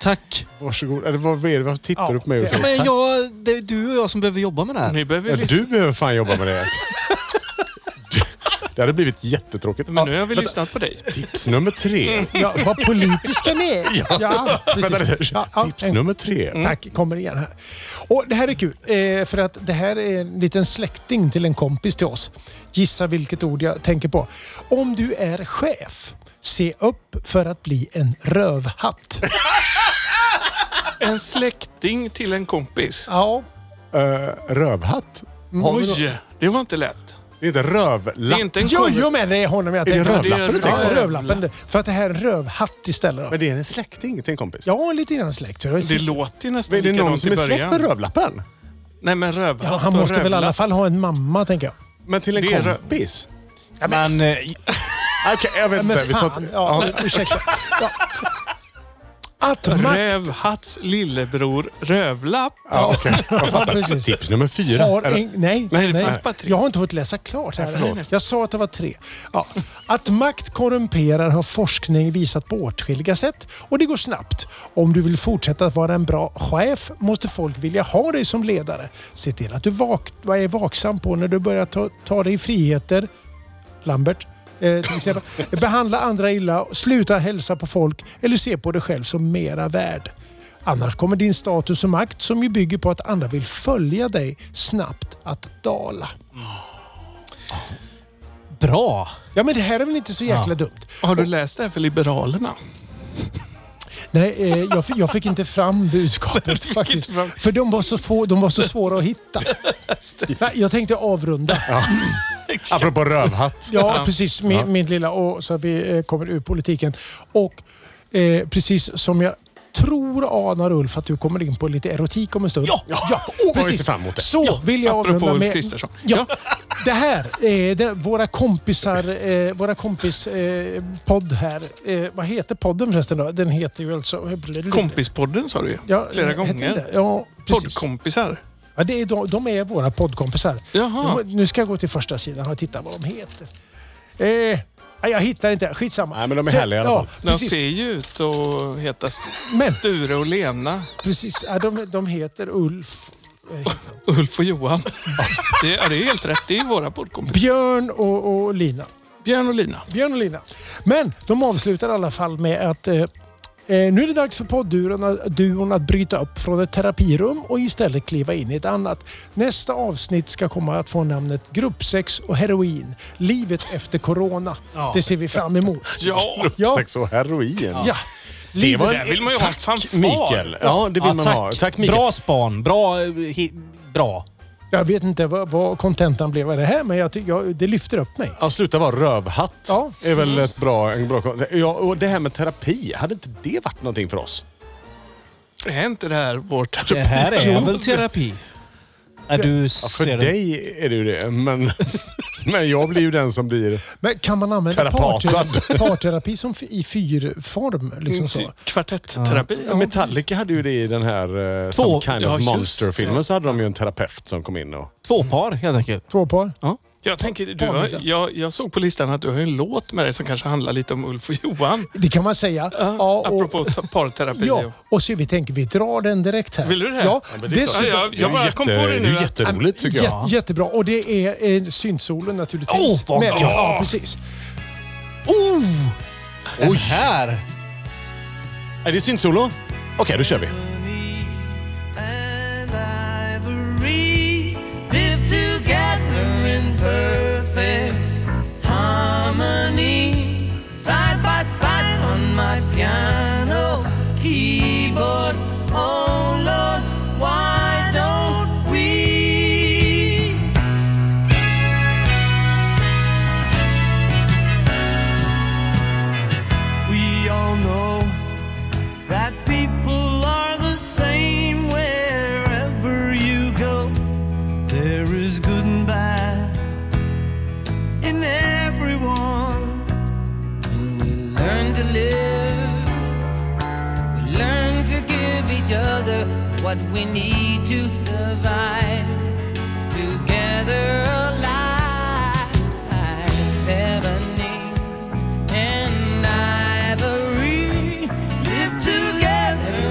Tack. Varsågod. Eller vad är det? Varför tittar Ja, du på mig och det- säger Men jag, det är du och jag som behöver jobba med det här. Ni behöver ju Ja, lyssna. du behöver fan jobba med det. Det hade blivit jättetråkigt. Men nu Ja, har vi vänta. lyssnat på dig. Tips nummer tre. Ja, vad politiska ni är. Ja, Vänta lite. Ja, ja. eh, Tips nummer tre. Mm. Tack, kommer igen här. Och det här är kul, eh, för att det här är en liten släkting till en kompis till oss. Gissa vilket ord jag tänker på. Om du är chef, se upp för att bli en rövhatt. En släkting till en kompis. Ja, Eh, rövhatt. Har vi något? Oj, det var inte lätt. Det är inte rövlapp. Det är inte en jo, kompis. jo men det är honom jag Är det tänker på. rövlappen du tänker på? Ja, rövlappen. För att det här är en rövhatt istället. Då. Men det är en släkting till en kompis. Ja, lite grann släkt. tror jag. Det låter ju nästan Är det någon likadant i som är början. släkt med rövlappen? Nej, men rövhatt Ja, han och måste väl i alla rövlapp. fall ha en mamma, tänker jag. Men till en Det är rö- kompis? Men eh, Okej, jag vet Men inte. Vi tar fan, ett- ja, ja. ursäkta. Ja. Att makt Rövhatts lillebror Rövlapp. Ja, okej. Jag Ja, fattar. precis. Tips nummer fyra. har Eller- en, nej, Nej, det fanns bara tre. jag har inte fått läsa klart här. förlåt. jag sa att det var tre. Ja. Att makt korrumperar har forskning visat på åtskilliga sätt och det går snabbt. Om du vill fortsätta att vara en bra chef måste folk vilja ha dig som ledare. Se till att du vak är vaksam på när du börjar ta, ta dig friheter. Lambert. Eh, till exempel. Behandla andra illa, sluta hälsa på folk eller se på dig själv som mera värd. Annars kommer din status och makt, som ju bygger på att andra vill följa dig, snabbt att dala. bra. Ja, men det här är väl inte så jäkla Ja. dumt? Har du läst det här för Liberalerna? Nej, eh, jag, fick, jag fick inte fram budskapet faktiskt. fram. För de var så, få, de var så svåra att hitta. Nej, jag tänkte avrunda. Apropå rövhatt. Ja, precis. Min, min lilla och så att vi eh, kommer ur politiken. Och eh, precis som jag tror anar Ulf att du kommer in på lite erotik om en stund. Ja! Åh, vad vi ser fram emot det. Så vill jag apropå avrunda Ulf med... Kristersson. Ja, det här är det, våra kompisar, eh, våra kompis eh, podd här. Eh, vad heter podden förresten då? Den heter ju alltså... Kompispodden sa du ju. Ja, Flera hette den det? gånger. Ja, precis. Poddkompisar. Ja, det är de, de är våra poddkompisar. Jaha. Nu- Nu ska jag gå till första sidan och titta vad de heter. Eh, nej, jag hittar inte. Skitsamma. Nej, men de är Te- härliga i alla fall. Ja, De precis. ser ju ut att heta Men Sture och Lena. precis, ja, de, de heter Ulf, Ulf och Johan. Det, ja, det är helt rätt. Det är våra poddkompisar. Björn och, och Lina. Björn och Lina. Björn och Lina. Men de avslutar i alla fall med att eh, eh, nu är det dags för podduon duon att bryta upp från ett terapirum och istället kliva in i ett annat. Nästa avsnitt ska komma att få namnet Gruppsex och heroin. Livet efter corona. Det ser vi fram emot. Ja, Ja. Sex och heroin. Ja. Det var där vill man ju ha en fanfar. Mikael. Ja, det vill Ja, man tack. ha. Tack Mikael. Bra span. Bra. eh, hi- bra. Jag vet inte vad- vad kontentan blev av det här, men jag, ty- jag, det lyfter upp mig. Ja, sluta vara rövhatt. Ja. är väl Mm. ett bra... En bra ja, och det här med terapi, hade inte det varit någonting för oss? är inte det här vår terapi? Det här är väl terapi? Är du För ser det. dig är det ju det, men, men jag blir ju den som blir... Men kan man använda Terapatad. parterapi, parterapi som f- i fyrform? Liksom Mm. så? Kvartettterapi. Ja. Metallica hade ju det i den här eh, Some Två- Kind ja, of just det. Monster-filmen. Så hade de ju en terapeut som kom in och... Två par helt enkelt. Två par? Jag, tänker, du har, jag, jag såg på listan att du har en låt med dig som kanske handlar lite om Ulf och Johan. Det kan man säga. Ja, och- Apropå ta- parterapi. Ja, Ja. och så vi tänker vi drar den direkt här. Vill du det? Ja, Ja, men det är dessutom, klart. jag, jag bara kom på det det är nu. ju att- jätteroligt tycker jag. Jätte, jättebra. Och det är eh, syntsolen naturligtvis. Åh, vad Men- gott. ja, precis. Oh! Den här! Är det syntsolo? Okej, då kör vi. and ivory live together in perfect harmony. Side by side on my piano keyboard. Oh Lord, why don't we? We all know that people are the same wherever you go. There is good and bad in everyone. And we learn to live, we learn to give each other what we need to survive. Together alive, heaven and ivory live together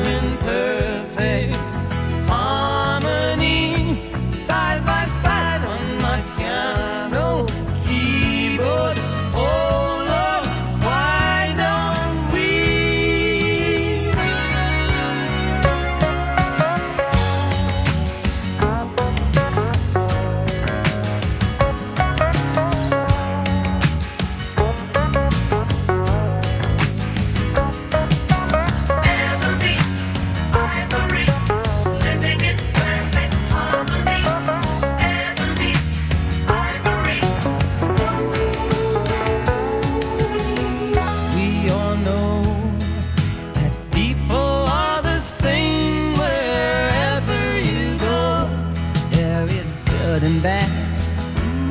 good and bad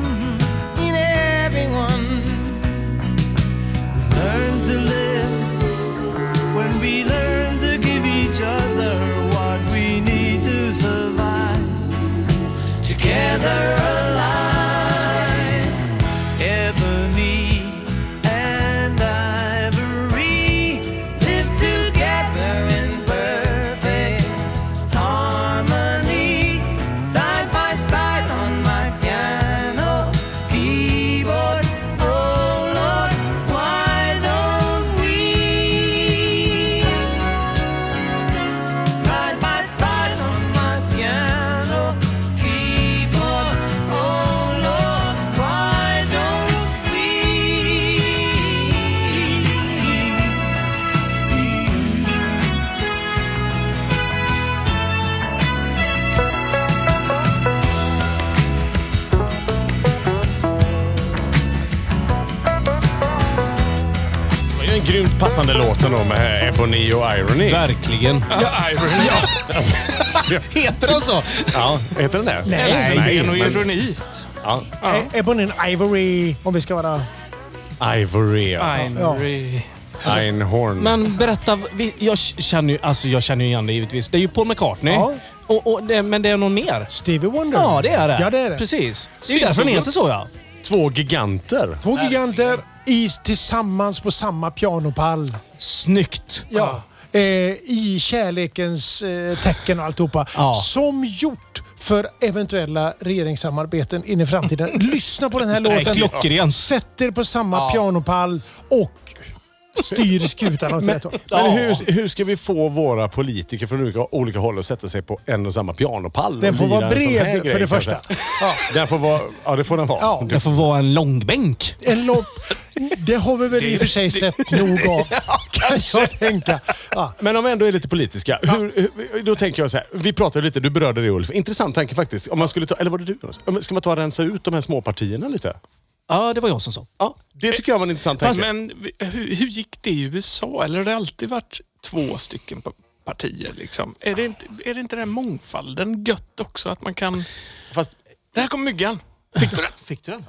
mm-hmm, in everyone. We learn to live when we learn to give each other what we need to survive. Together alive, ebony and ivory live together in perfect harmony. Side by side on my piano keyboard. Oh Lord, why don't we? Side by side on my piano keyboard. Oh Lord, why don't we? Det var ju en grymt passande låt ändå med eh, Ebony och Irony. Verkligen. Ja, Iron. Heter den så? Ja, heter den det? Nej. Elfenben och men- ironi. ja, Ja. Eh, Ebony and Ivory, om vi ska vara... Ivory. ja. Ivory. Alltså, Einhorn. Men berätta, vi- jag känner ju, alltså jag känner ju igen det givetvis. Det är ju Paul McCartney. Ja. Och, och det, men det är någon mer. Stevie Wonder. Ja, det är det. Ja, det är det. Precis. Det är ju därför den heter så ja. Två giganter. Två giganter is tillsammans på samma pianopall. Snyggt. Ja. Eh, I kärlekens eh, tecken och alltihopa. Ja. Som gjort för eventuella regeringssamarbeten in i framtiden. Lyssna på den här Nej, låten. klockren. Sätt er på samma pianopall och styr skutan åt rätt håll. Men Ja. hur, hur ska vi få våra politiker från olika, olika håll att sätta sig på en och samma pianopall? och Den får lira vara en sån här bred, grej, för det kanske? första. Ja. Den får vara, ja, det får den vara. Ja. Du- Det får vara en långbänk. En lopp, det har vi väl i och för sig sett nog av. Kan jag tänka. Ja. Men om vi ändå är lite politiska. Hur, hur, då tänker jag så här. Vi pratade lite, du berörde det Ulf. Intressant tanke faktiskt. Om man skulle ta, eller var det du? Om- Ska man ta och rensa ut de här småpartierna lite? Ja, det var jag som sa. Ja, det tycker jag var en intressant tanke. Men vi- hur, hur gick det i USA? Eller har det alltid varit två stycken pa- partier? Liksom? Är, det inte, är det inte den mångfalden gött också? Att man kan... Fast, Där kom myggan! Fick du den? Fick du den?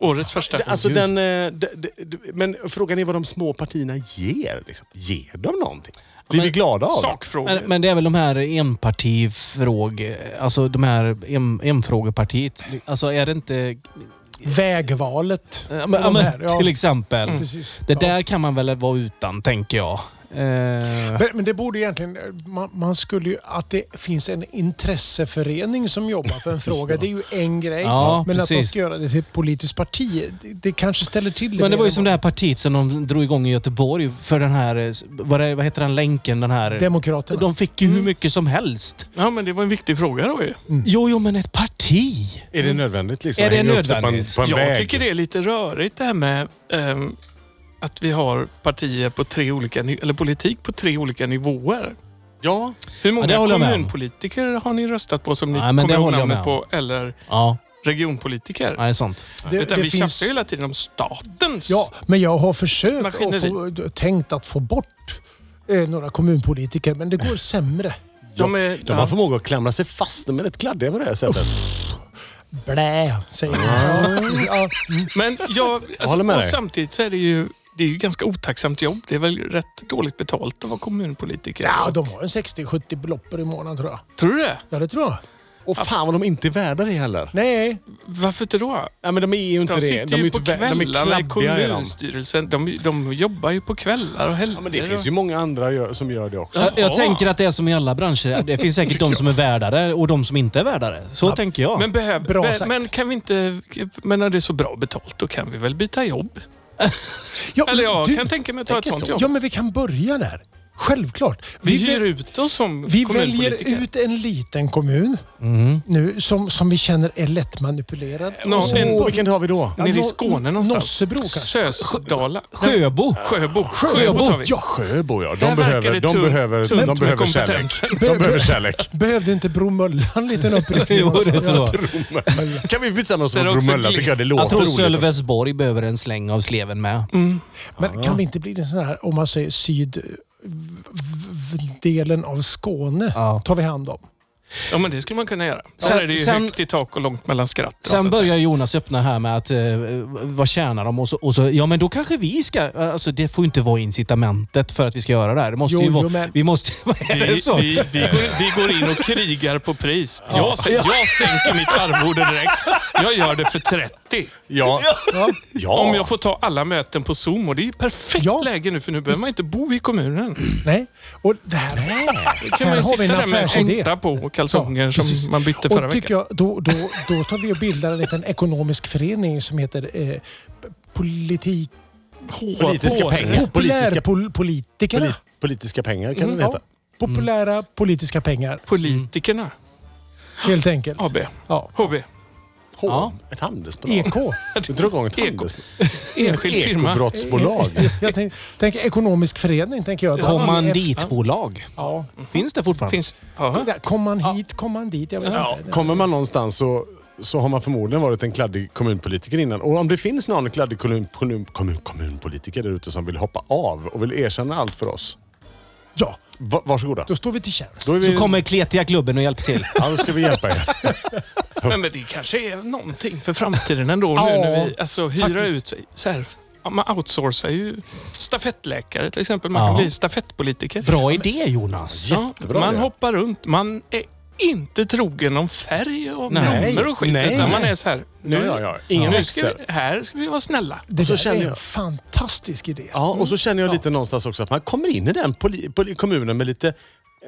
Årets första. alltså den, eh, d- d- d- men frågan är vad de små partierna ger. Liksom. Ger de någonting? Blir vi glada av det? Sakfrågor. Men, men det är väl de här enpartifråg... Alltså de här en, enfrågepartiet. Alltså är det inte... Vägvalet. Ja, men, ja, De här, men, ja. till exempel. Precis. Det Ja. där kan man väl vara utan, tänker jag. Eh, Men, men det borde egentligen... Man, man skulle ju... Att det finns en intresseförening som jobbar för en fråga, det är ju en grej. Ja, men att man precis. ska göra det till ett politiskt parti, det, det kanske ställer till det. Men det var ju som det mer här partiet som de drog igång i Göteborg för den här, eh, vad, det, vad heter den länken, den här... än Demokraterna. Mm. de fick ju hur mycket som helst. Ja, men det var en viktig fråga då ju. Jo, jo, men ett parti! Är det nödvändigt? Liksom, Är att det hänga upp sig nödvändigt? På en, på Jag en väg? tycker det är lite rörigt det här med ehm, att vi har partier på tre olika... ny- Eller politik på tre olika nivåer. Ja. Hur många det håller jag med om. kommunpolitiker har ni röstat på som ni Nej, men kommer det ihåg håller jag namnet med på? Eller Ja, regionpolitiker? nej, sant. det, Utan det vi tjafsar ju hela tiden om statens. Ja, men jag har försökt att få, Maskineri. tänkt att få bort eh, några kommunpolitiker, men det går sämre. de är, De har förmåga att klamra sig fast. De är rätt kladdiga på det här sättet. Blä, säger jag. Ja, ja. Men jag, alltså, håller med och dig. samtidigt så är det ju det är ju ganska otacksamt jobb. Det är väl rätt dåligt betalt att vara kommunpolitiker? Ja, de har en 60-70 belopp i månaden tror jag. Tror du det? Ja, det tror jag. Och fan vad de inte är värda det heller. Nej, Varför inte då? Nej, men de är ju inte De det. sitter De är ju inte på vä- de är kvällarna i kladdiga. är de. kommunstyrelsen. De, de jobbar ju på kvällar och helger. Ja, men det finns ju många andra gör, som gör det också. Jag, jag tänker att det är som i alla branscher. Det finns säkert de som är värdare och de som inte är värdare. Så tänker jag. men, behöv, Bra be- sagt. men kan vi inte... Men när det är så bra betalt, då kan vi väl byta jobb? Ja, Eller men jag du- kan tänka mig att ta ett tänker sånt så. jobb. Ja, men vi kan börja där. Självklart. vi hyr väl- ut oss som vi kommunpolitiker. Mm-hmm. väljer ut en liten kommun nu som, som vi känner är lätt manipulerad. Nå- Och så- en- Åh, vilken har vi då? Ja, Nere i Nå- Skåne någonstans. Nossebro kanske. Sösdala. Sjöbo. Sjöbo. tar vi. Ja, Sjöbo ja. Där De verkar behöver, det de tungt- tungt behöver, de med behöver kärlek. kompetensen. De behöver kärlek. Behövde inte Bromöllan lite uppryckning? Jo, det Ja. tror jag. Kan vi bli tillsammans Det med är också Bromölla? glimt. Tycker jag det Jag låter tror roligt. också. Sölvesborg behöver en släng av sleven med. Men kan vi inte bli den sån här, om man säger syd v- v- delen av Skåne, Ja. tar vi hand om. Ja, men det skulle man kunna göra. Sen, Sen- är det ju sen- högt i tak och långt mellan alltså. skratten. så Sen att säga. börjar Jonas öppna här med att eh, vad tjänar de? Och så, och så, ja, men då kanske vi ska... Alltså, det får ju inte vara incitamentet för att vi ska göra det här. Det måste Jo, ju vara... jo, men- Vi måste... Vad är det Vi, så? vi, vi, går, vi går in och krigar på pris. Jag, sän- jag sänker mitt arvode direkt. Jag gör det för 30. Ja. ja. Om jag får ta alla möten på Zoom och det är ju perfekt Ja. läge nu för nu behöver man inte bo i kommunen. Nej. Och det här, Då här kan man ju har vi sitta en där med affärsidé. skjorta på och kalsonger precis. som man bytte förra och veckan. tycker jag, då, då, då tar vi och bildar en liten ekonomisk förening som heter eh, p- politik... Politiska pengar. Politiska, Populärpolitikerna. poli, politiska pengar kan Mm, det heta. ja. Populära Mm. politiska pengar, Politikerna, helt enkelt. AB. Mm. Ja. HB. H, Ja. ett handelsbolag. E EK. Du drar igång ett Eko. handelsbolag. Enskild firma. E Ekobrottsbolag. Jag tänker tänk, ekonomisk förening, tänker jag. Kommanditbolag. Ja. Finns det fortfarande? Finns, ja. Där, Kom man hit, kom man dit. Jag vet Ja, inte. kommer man någonstans så, så har man förmodligen varit en kladdig kommunpolitiker innan. Och om det finns någon kladdig kommun, kommun, kommun, kommunpolitiker där ute som vill hoppa av och vill erkänna allt för oss. Ja, va- varsågoda. Då står vi till tjänst. Då är vi, Så kommer kletiga klubben och hjälper till. Ja, då ska vi hjälpa er. Men, men det kanske är någonting för framtiden ändå. nu Ja, när vi, alltså, hyra faktiskt. ut sig. Så här, ja, man outsourcar ju stafettläkare till exempel. Man Ja. kan bli stafettpolitiker. Bra idé Jonas. Ja, Jättebra man idé. hoppar runt. Man är inte trogen om färg och Nej. blommor och skit. Nej. Utan man är så här, nu, Ja, ja, ja. Inga nu ska växter. vi, här ska vi vara snälla. Det så där känner är en jag- fantastisk idé. Ja, Mm. och så känner jag lite någonstans också att man kommer in i den poli, poli, kommunen med lite,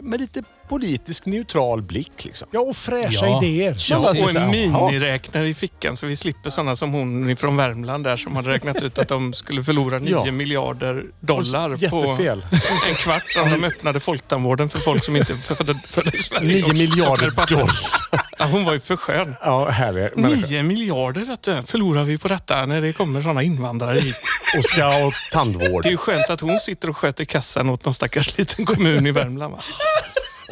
med lite politisk neutral blick. Liksom. Ja, och fräscha Ja. idéer. Ja, Man bara precis. Och sitter- en Jaha. miniräknare i fickan så vi slipper sådana som hon från Värmland där som hade räknat ut att de skulle förlora 9 Ja. miljarder dollar på Jättefel. en kvart om de öppnade folktandvården för folk som inte föddes födde i Sverige. 9 Och- miljarder så blev det- dollar. Ja, hon var ju för skön. Ja, härlig människa. 9 miljarder vet du, förlorar vi på detta när det kommer sådana invandrare hit. Och ska ha tandvård. Det är ju skönt att hon sitter och sköter kassan åt någon stackars liten kommun i Värmland. Va?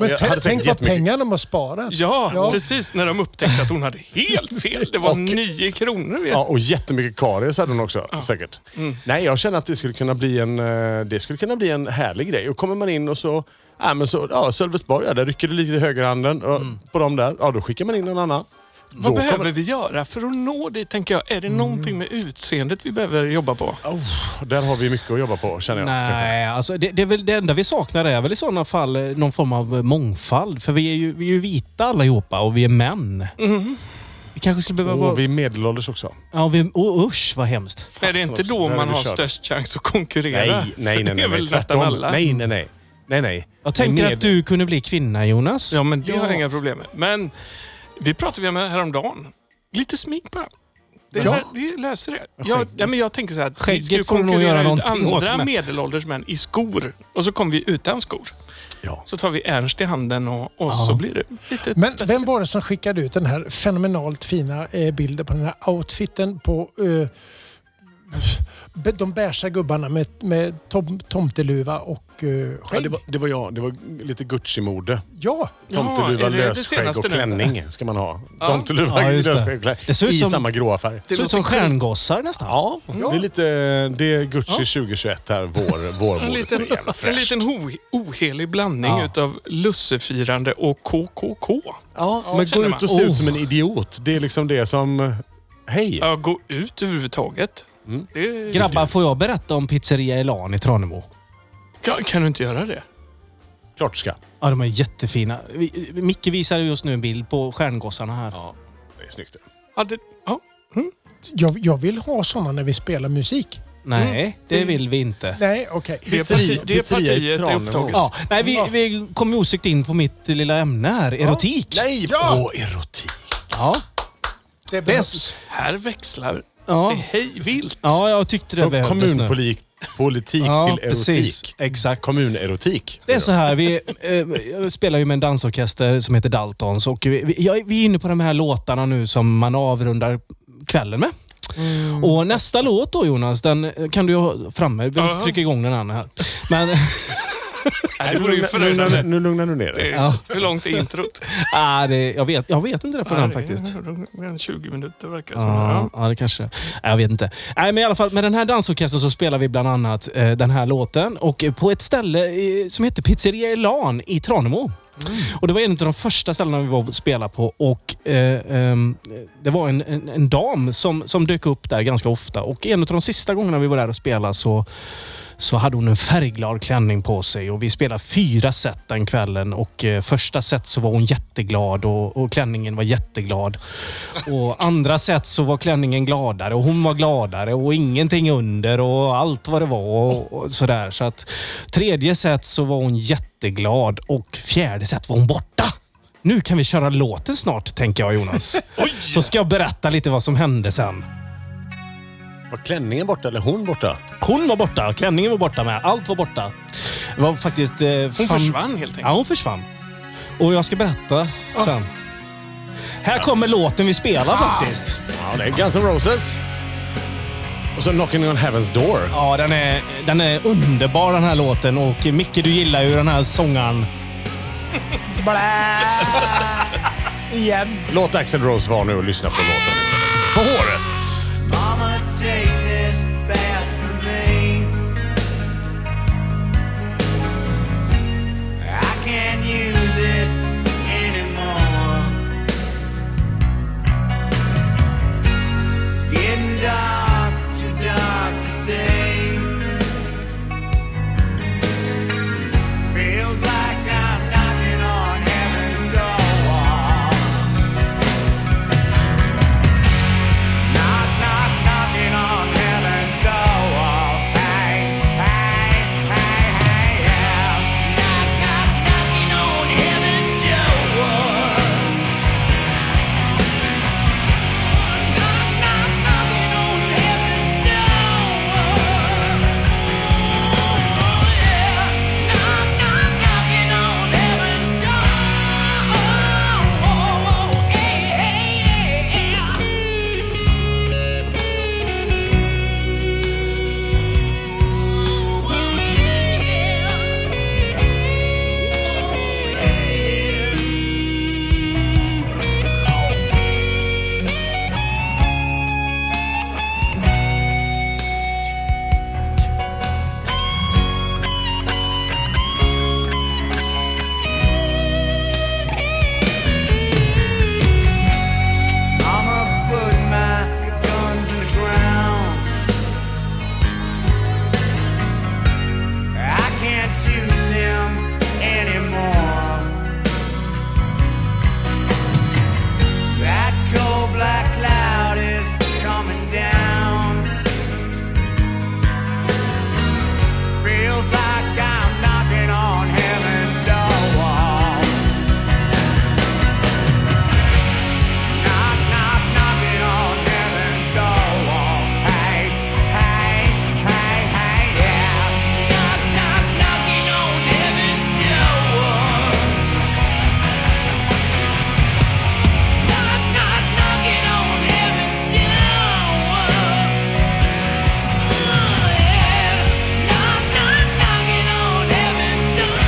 Men jag tänk- hade säkert tänk vad jättemycket- pengarna de har sparat. Ja, Ja. precis när de upptäckte att hon hade helt fel. Det var Och- 9 kronor. Vet. Ja, och jättemycket karies hade hon också säkert. Mm. Nej, jag känner att det skulle kunna bli en, eh, det skulle kunna bli en härlig grej. Och kommer man in och så, ja men så, ja Sölvesborg, ja, där rycker du lite i högerhanden och, på dem där. Ja, då skickar man in en annan. Mm. Vad Då behöver kommer- Mm. vi göra för att nå det, tänker jag? Är det någonting med utseendet vi behöver jobba på? Oh, där har vi mycket att jobba på känner jag. kanske. Nej, alltså det, det, är väl, det enda vi saknar är väl i sådana fall eh, någon form av eh, mångfald. För vi är ju, vi är ju vita allihopa och vi är män. Mm. Vi kanske skulle behöva vara... Och vi är medelålders också. Ja, vi, oh, usch vad hemskt. är det inte också. då Där är man vi har körda. störst chans att konkurrera? Nej, nej, nej. Det är nej, väl nej. nästan tvärtom. alla. Nej, nej, nej. Nej, nej. Jag tänker Med- att du kunde bli kvinna Jonas. Ja, men det har jag inga problem med. Men vi pratade ju med häromdagen. Lite smink bara. Det, Ja. här, det löser det. Jag, ja, men jag tänker så här att vi Skägget ska ju får du nog konkurrera göra ut någonting åt andra med. medelålders män i skor. Och så kommer vi utan skor. Ja. Så tar vi Ernst i handen och, och så blir det lite... Men vem var det som skickade ut den här fenomenalt fina eh, bilden på den här outfiten på eh, be- de beiga gubbarna med, med tom, tomteluva och eh, Ja, skägg? det, var, det var jag. Det var lite Gucci-mode. Ja, Tomteluva, är det det lösskägg senaste och nu? klänning ska man ha. Tomteluva, Ja, just det. lösskägg och klänning. Det ser ut I som- samma gråa färg. det ser ut som stjärngossar nästan. Ja, det är lite det är Gucci 2021 här, vår, vår En liten, en liten ho- ohelig blandning Ja. utav lussefirande och KKK. ja, Oh. men gå känner ut man. och se ut som en idiot. Det är liksom det som... Hej! Ja, gå ut överhuvudtaget. Mm. Det, Grabbar, får jag berätta om pizzeria Elan i Tranemo? kan, kan du inte göra det? Klart ska. Ja, de är jättefina. Vi- Micke visar just nu en bild på stjärngossarna här. Det är snyggt. Ja, det ja. jag, jag vill ha sådana när vi spelar musik. Nej, det vill vi inte. Nej, okej. Det, parti, det pizzeria i partiet är Tranemo. upptaget. Ja, nej, vi, vi kom ju osökt in på mitt lilla ämne här, erotik. Nej! Åh, erotik. Ja. Det Det är, behövs. Här växlar Ja. det hej vilt. ja, jag tyckte det Från behövdes nu. kommunpolitik politik ja, till erotik. precis. Exakt. Kommunerotik. Det är så här, vi eh, jag spelar ju med en dansorkester som heter Daltons och vi, vi, ja, vi är inne på de här låtarna nu som man avrundar kvällen med. Mm. Och nästa låt då Jonas, den kan du ju ha framme. Vi behöver inte Ja. trycka igång den andra här. Men, Nej, Nu det vore ju lugnar- nu lugnar- förödande. Nu lugnar du ner dig. ja, Hur långt är introt? ah, det, jag, vet, jag vet inte det på Ja, den det är faktiskt. runt 20 minuter verkar det som. Ja, Ja. ja, det kanske Nej, Jag vet inte. Nej, men i alla fall, med den här dansorkestern så spelar vi bland annat eh, den här låten. Och eh, på ett ställe eh, som heter Pizzeria Elan i Tranemo. Mm. Och Det var en av de första ställena vi var och spelade på. Och, eh, ehm, det var en, en, en dam som, som dök upp där ganska ofta. Och En av de sista gångerna vi var där och spelade så, så hade hon en färgglad klänning på sig. Och Vi spelade fyra set den kvällen. Och eh, Första set så var hon jätteglad och, och klänningen var jätteglad. Och Andra set så var klänningen gladare och hon var gladare och ingenting under och allt vad det var. Och, och sådär. Så att, tredje set så var hon jätteglad och fjärde set var hon borta. Nu kan vi köra låten snart, tänker jag Jonas. Så ska jag berätta lite vad som hände sen. Var klänningen borta eller hon borta? Hon var borta, klänningen var borta med, allt var borta. Det var faktiskt... Eh, Hon fam- försvann Ah. helt Ja, enkelt. hon försvann. Och jag ska berätta sen. Här kommer låten vi Ah. spelar faktiskt. Ja, det är Guns N' Roses. Och så Knocking on Heaven's Door. Ja, den är, den är underbar den här låten och Micke, du gillar ju den här sångaren. Igen. Låt Axel Rose vara nu och lyssna på låten istället. På håret! Mama, take this bath from me. I can't use it anymore. It's getting dark, too dark to see. Feels like I'm knocking on heaven's door. Knock, knock, knocking on heaven's door. Hey, hey, hey, hey, yeah. Knock, knock, knocking on heaven's door. Knock, knock, knocking on heaven's door. Oh, yeah. Knock, knock, knocking on heaven's door. Oh, oh, hey, hey, yeah, yeah. Mama put my guns in the ground. I can't shoot them anymore. That cold black cloud is coming down. Feels like I'm knocking on heaven's door. Knock, knock, knocking on heaven's door. Hey, hey, hey, hey, yeah. Knock, knock, knocking on heaven's door. Knock, knock, knocking on heaven's door. Yeah. Knock, knock, knocking on heaven's door.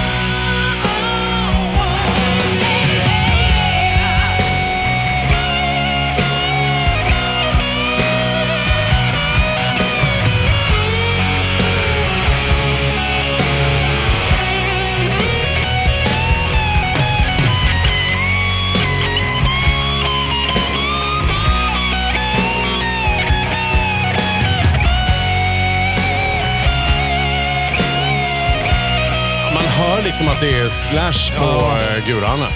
Hey, yeah. Man hör liksom att det är slash på eh, ja. guran. här.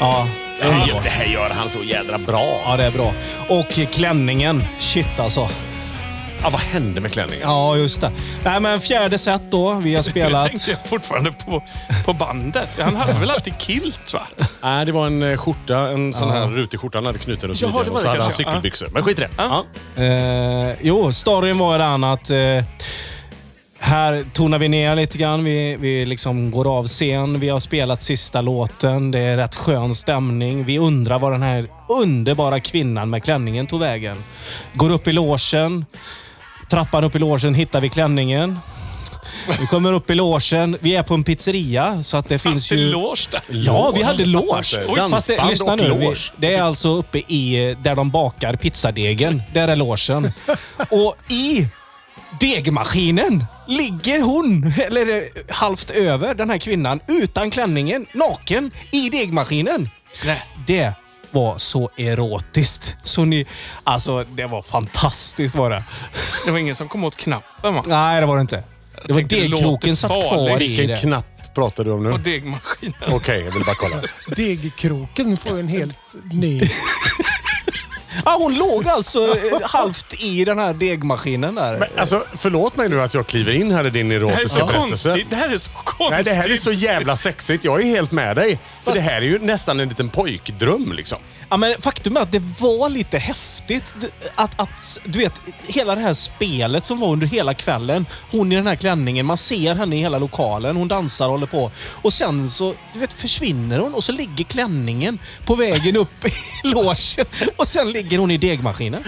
Ja, Det här gör- det här gör han så jädra bra. ja, det är bra. Och klänningen. Shit alltså. Ja, vad hände med klänningen? Ja, just det. Nej, men fjärde set då. Vi har Jag spelat... tänkte jag fortfarande på, på bandet. Han hade väl alltid kilt va? Nej, det var en eh, skjorta, en sån här rutig skjorta han hade knuten runt Jaha, midjan det och var så det hade han kanske, ja. cykelbyxor. Men skit i det. Ja. Eh, jo, storyn var ju den att eh, här tonar vi ner lite grann. Vi, vi liksom går av scen. Vi har spelat sista låten. Det är rätt skön stämning. Vi undrar var den här underbara kvinnan med klänningen tog vägen. Går upp i logen. Trappan upp i logen hittar vi klänningen. Vi kommer upp i logen. Vi är på en pizzeria så att det Fanns finns det ju... loge där? Ja, vi hade loge. Fattar inte. Oj, Fast det, Dansband lyssna och nu. Vi, loge. det är alltså uppe i eh, där de bakar pizzadegen. Där är logen. Och i degmaskinen ligger hon, eller eh, halvt över, den här kvinnan utan klänningen, naken, i degmaskinen. Nej. Det var så erotiskt. Så ni, alltså det var fantastiskt var det. Det var ingen som kom åt knappen va? Nej, det var det inte. Det var tänkte, det låter degkroken satt kvar farligt. i Vilken det. knapp pratar du om nu? På Okej, degmaskinen. jag vill bara kolla. Degkroken får ju en helt ny... Ja, hon låg alltså eh, halvt i den här degmaskinen där. Men, alltså, förlåt mig nu att jag kliver in här i din Det här är erotiska så berättelse. konstigt. Det här är så konstigt. Nej, det här är så jävla sexigt. Jag är helt med dig. För det här är ju nästan en liten pojkdröm liksom. Ja, men faktum är att det var lite häftigt. d- Att, att, du vet, hela det här spelet som var under hela kvällen. Hon i den här klänningen, man ser henne i hela lokalen. Hon dansar och håller på. Och sen så du vet, försvinner hon och så ligger klänningen på vägen upp i logen. Och sen ligger hon i degmaskinen.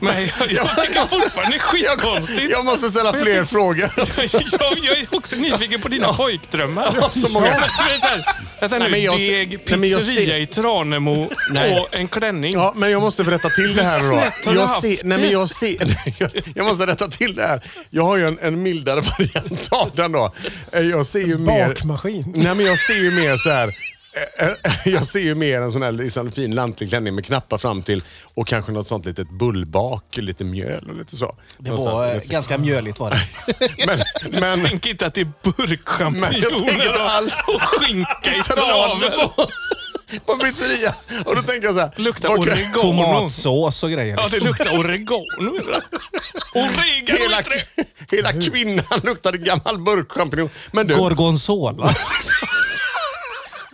Men jag, jag tycker fortfarande det är skitkonstigt. Jag måste ställa Men jag fler tyck- frågor. jag, jag är också nyfiken på dina pojkdrömmar. Jag har så många. Ja, men det är så här, Vänta nu, Nej, men jag ser- deg, Nej, men jag ser- pizzeria i Tranemo och en klänning. Ja, men jag måste rätta till det här Hur då. snett har du Jag haft ser, nej, det? men jag, ser, nej, jag, jag måste rätta till det här. Jag har ju en, en mildare variant av den då. Eh, Jag ser ju mer... Bakmaskin. Nej, men jag ser ju mer så här... eh, eh, Jag ser ju mer en sån här liksom fin lantlig klänning med knappar fram till och kanske något sånt litet bullbak, lite mjöl och lite så. Det var eh, ganska mjöligt var det. Men, men, Tänk inte att det är Men jag tänker inte burkchampinjoner alls. och, och skinka i traven. Tranemo. på pizzeria. Och då tänker jag så här. Luktar vad kan- oregano. Tomatsås och grejer. Ja, det liksom. luktar oregano överallt. Oregano Hela, heter det. hela kvinnan luktade gammal burkchampinjon. Men du, Gorgonzola.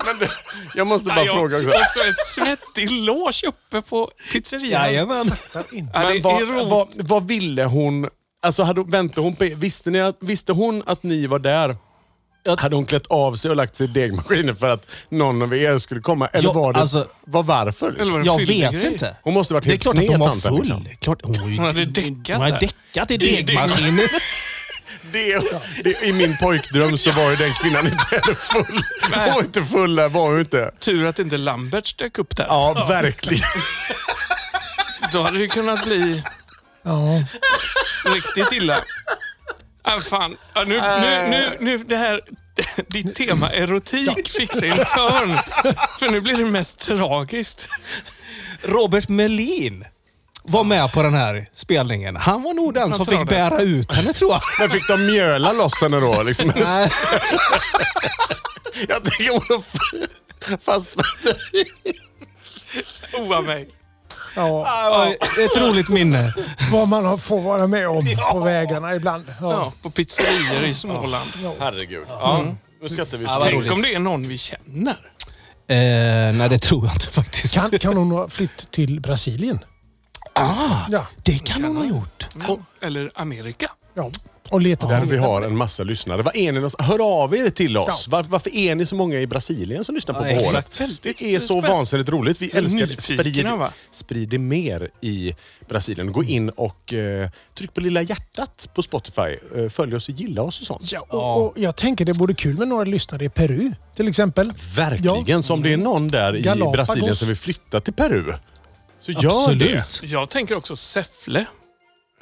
men du, jag måste bara Ja, fråga också. Och så en svettig loge uppe på pizzerian. Jajamän. Ja, det Men är vad, erotiskt. vad, vad ville hon? Alltså hade, väntade hon på er? Visste, ni att, visste hon att ni var där? Hade hon klätt av sig och lagt sig i degmaskinen för att någon av er skulle komma? Eller Ja, var det, alltså- var varför? liksom? Eller var det en Jag fyllig vet grej? inte. Hon måste varit Det är helt klart att sned, hon var tanten, full. liksom. Klart, hon, var ju- Hon hade däckat Hon hade där. däckat i I degmaskinen. Det, det, I min pojkdröm så var ju den kvinnan inte heller full. Hon var inte full där, var hon inte. Tur att inte Lamberts dök upp där. Ja, verkligen. Då hade det kunnat bli Ja. riktigt illa. Ah, fan. Ah, nu, nu, nu, nu, det här... Ditt tema erotik fick sig en törn. För nu blir det mest tragiskt. Robert Melin var med på den här spelningen. Han var nog den som tar fick det. bära ut henne tror jag. Men fick de mjöla loss henne då? Liksom. Nej, Jag tänker hon har fa- fastnat i... Oa mig. ja. Ah. det var ett roligt minne. Eh, Vad man har- får vara med om på vägarna ibland. Ja. Ja, på pizzerior i Småland. Herregud. Ja. Nu skrattar vi så vad till. roligt. Tänk om det är någon vi känner. Eh, nej, det tror jag inte faktiskt. Kan, kan hon ha flytt till Brasilien? ah, Ja. det kan hon ha gjort. Eller Amerika. ja. Och letat Där vi har en massa lyssnare. Var är ni någonstans? Hör av er till oss. Var, varför är ni så många i Brasilien som lyssnar på Ja, På håret? exakt. Väldigt Det är så spänn- vansinnigt roligt. Vi älskar det. nyfikna, Sprid, va? sprid det mer i Brasilien. Gå in och eh, tryck på lilla hjärtat på Spotify. Eh, följ oss och gilla oss och sånt. Ja, och, och jag tänker det vore kul med några lyssnare i Peru till exempel. Verkligen. Ja. Så om det är någon där i Galapagos. Brasilien som vill flytta till Peru, så gör det. Absolut. Jag tänker också Säffle.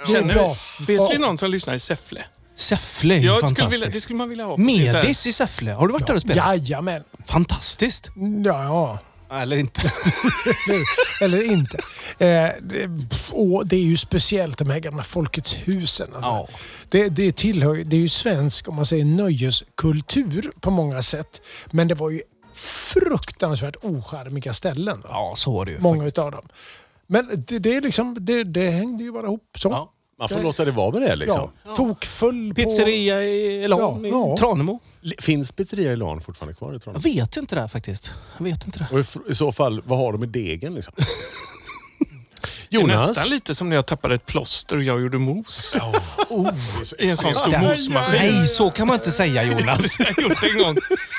Det är Känner bra. du? Vet vi någon som lyssnar i Säffle? Säffle är ju Jag skulle fantastiskt. vilja, det skulle man vilja ha. på sin så här- Medis i Säffle. Har du varit där och spelat? Jajamän. Fantastiskt. Ja, ja. Eller inte. Nu, Eller inte. Eh, det, och det är ju speciellt de här gamla Folkets husen. Alltså. Ja. Det, det, tillhör, ju- det är ju svensk om man säger nöjeskultur på många sätt. Men det var ju fruktansvärt ocharmiga ställen. Va? Ja, så var det ju. många utav dem. Men det, det, är liksom, det, det hängde ju bara ihop så. Ja. Man får låta det vara med det. Liksom. Ja. Tokfull Pizzeria i Elan, Ja, i ja. Tranemo. Finns pizzeria i Lan fortfarande kvar i Jag Tranås? vet inte det här faktiskt. Jag vet inte det. Och i fr- i så fall, vad har de i degen? Liksom? Det är Jonas? Nästan lite som när jag tappade ett plåster och jag gjorde mos. Oh, Oh, I en sån stor Där- mosmaskin. Nej, så kan man inte säga Jonas. Jag gjorde det en gång.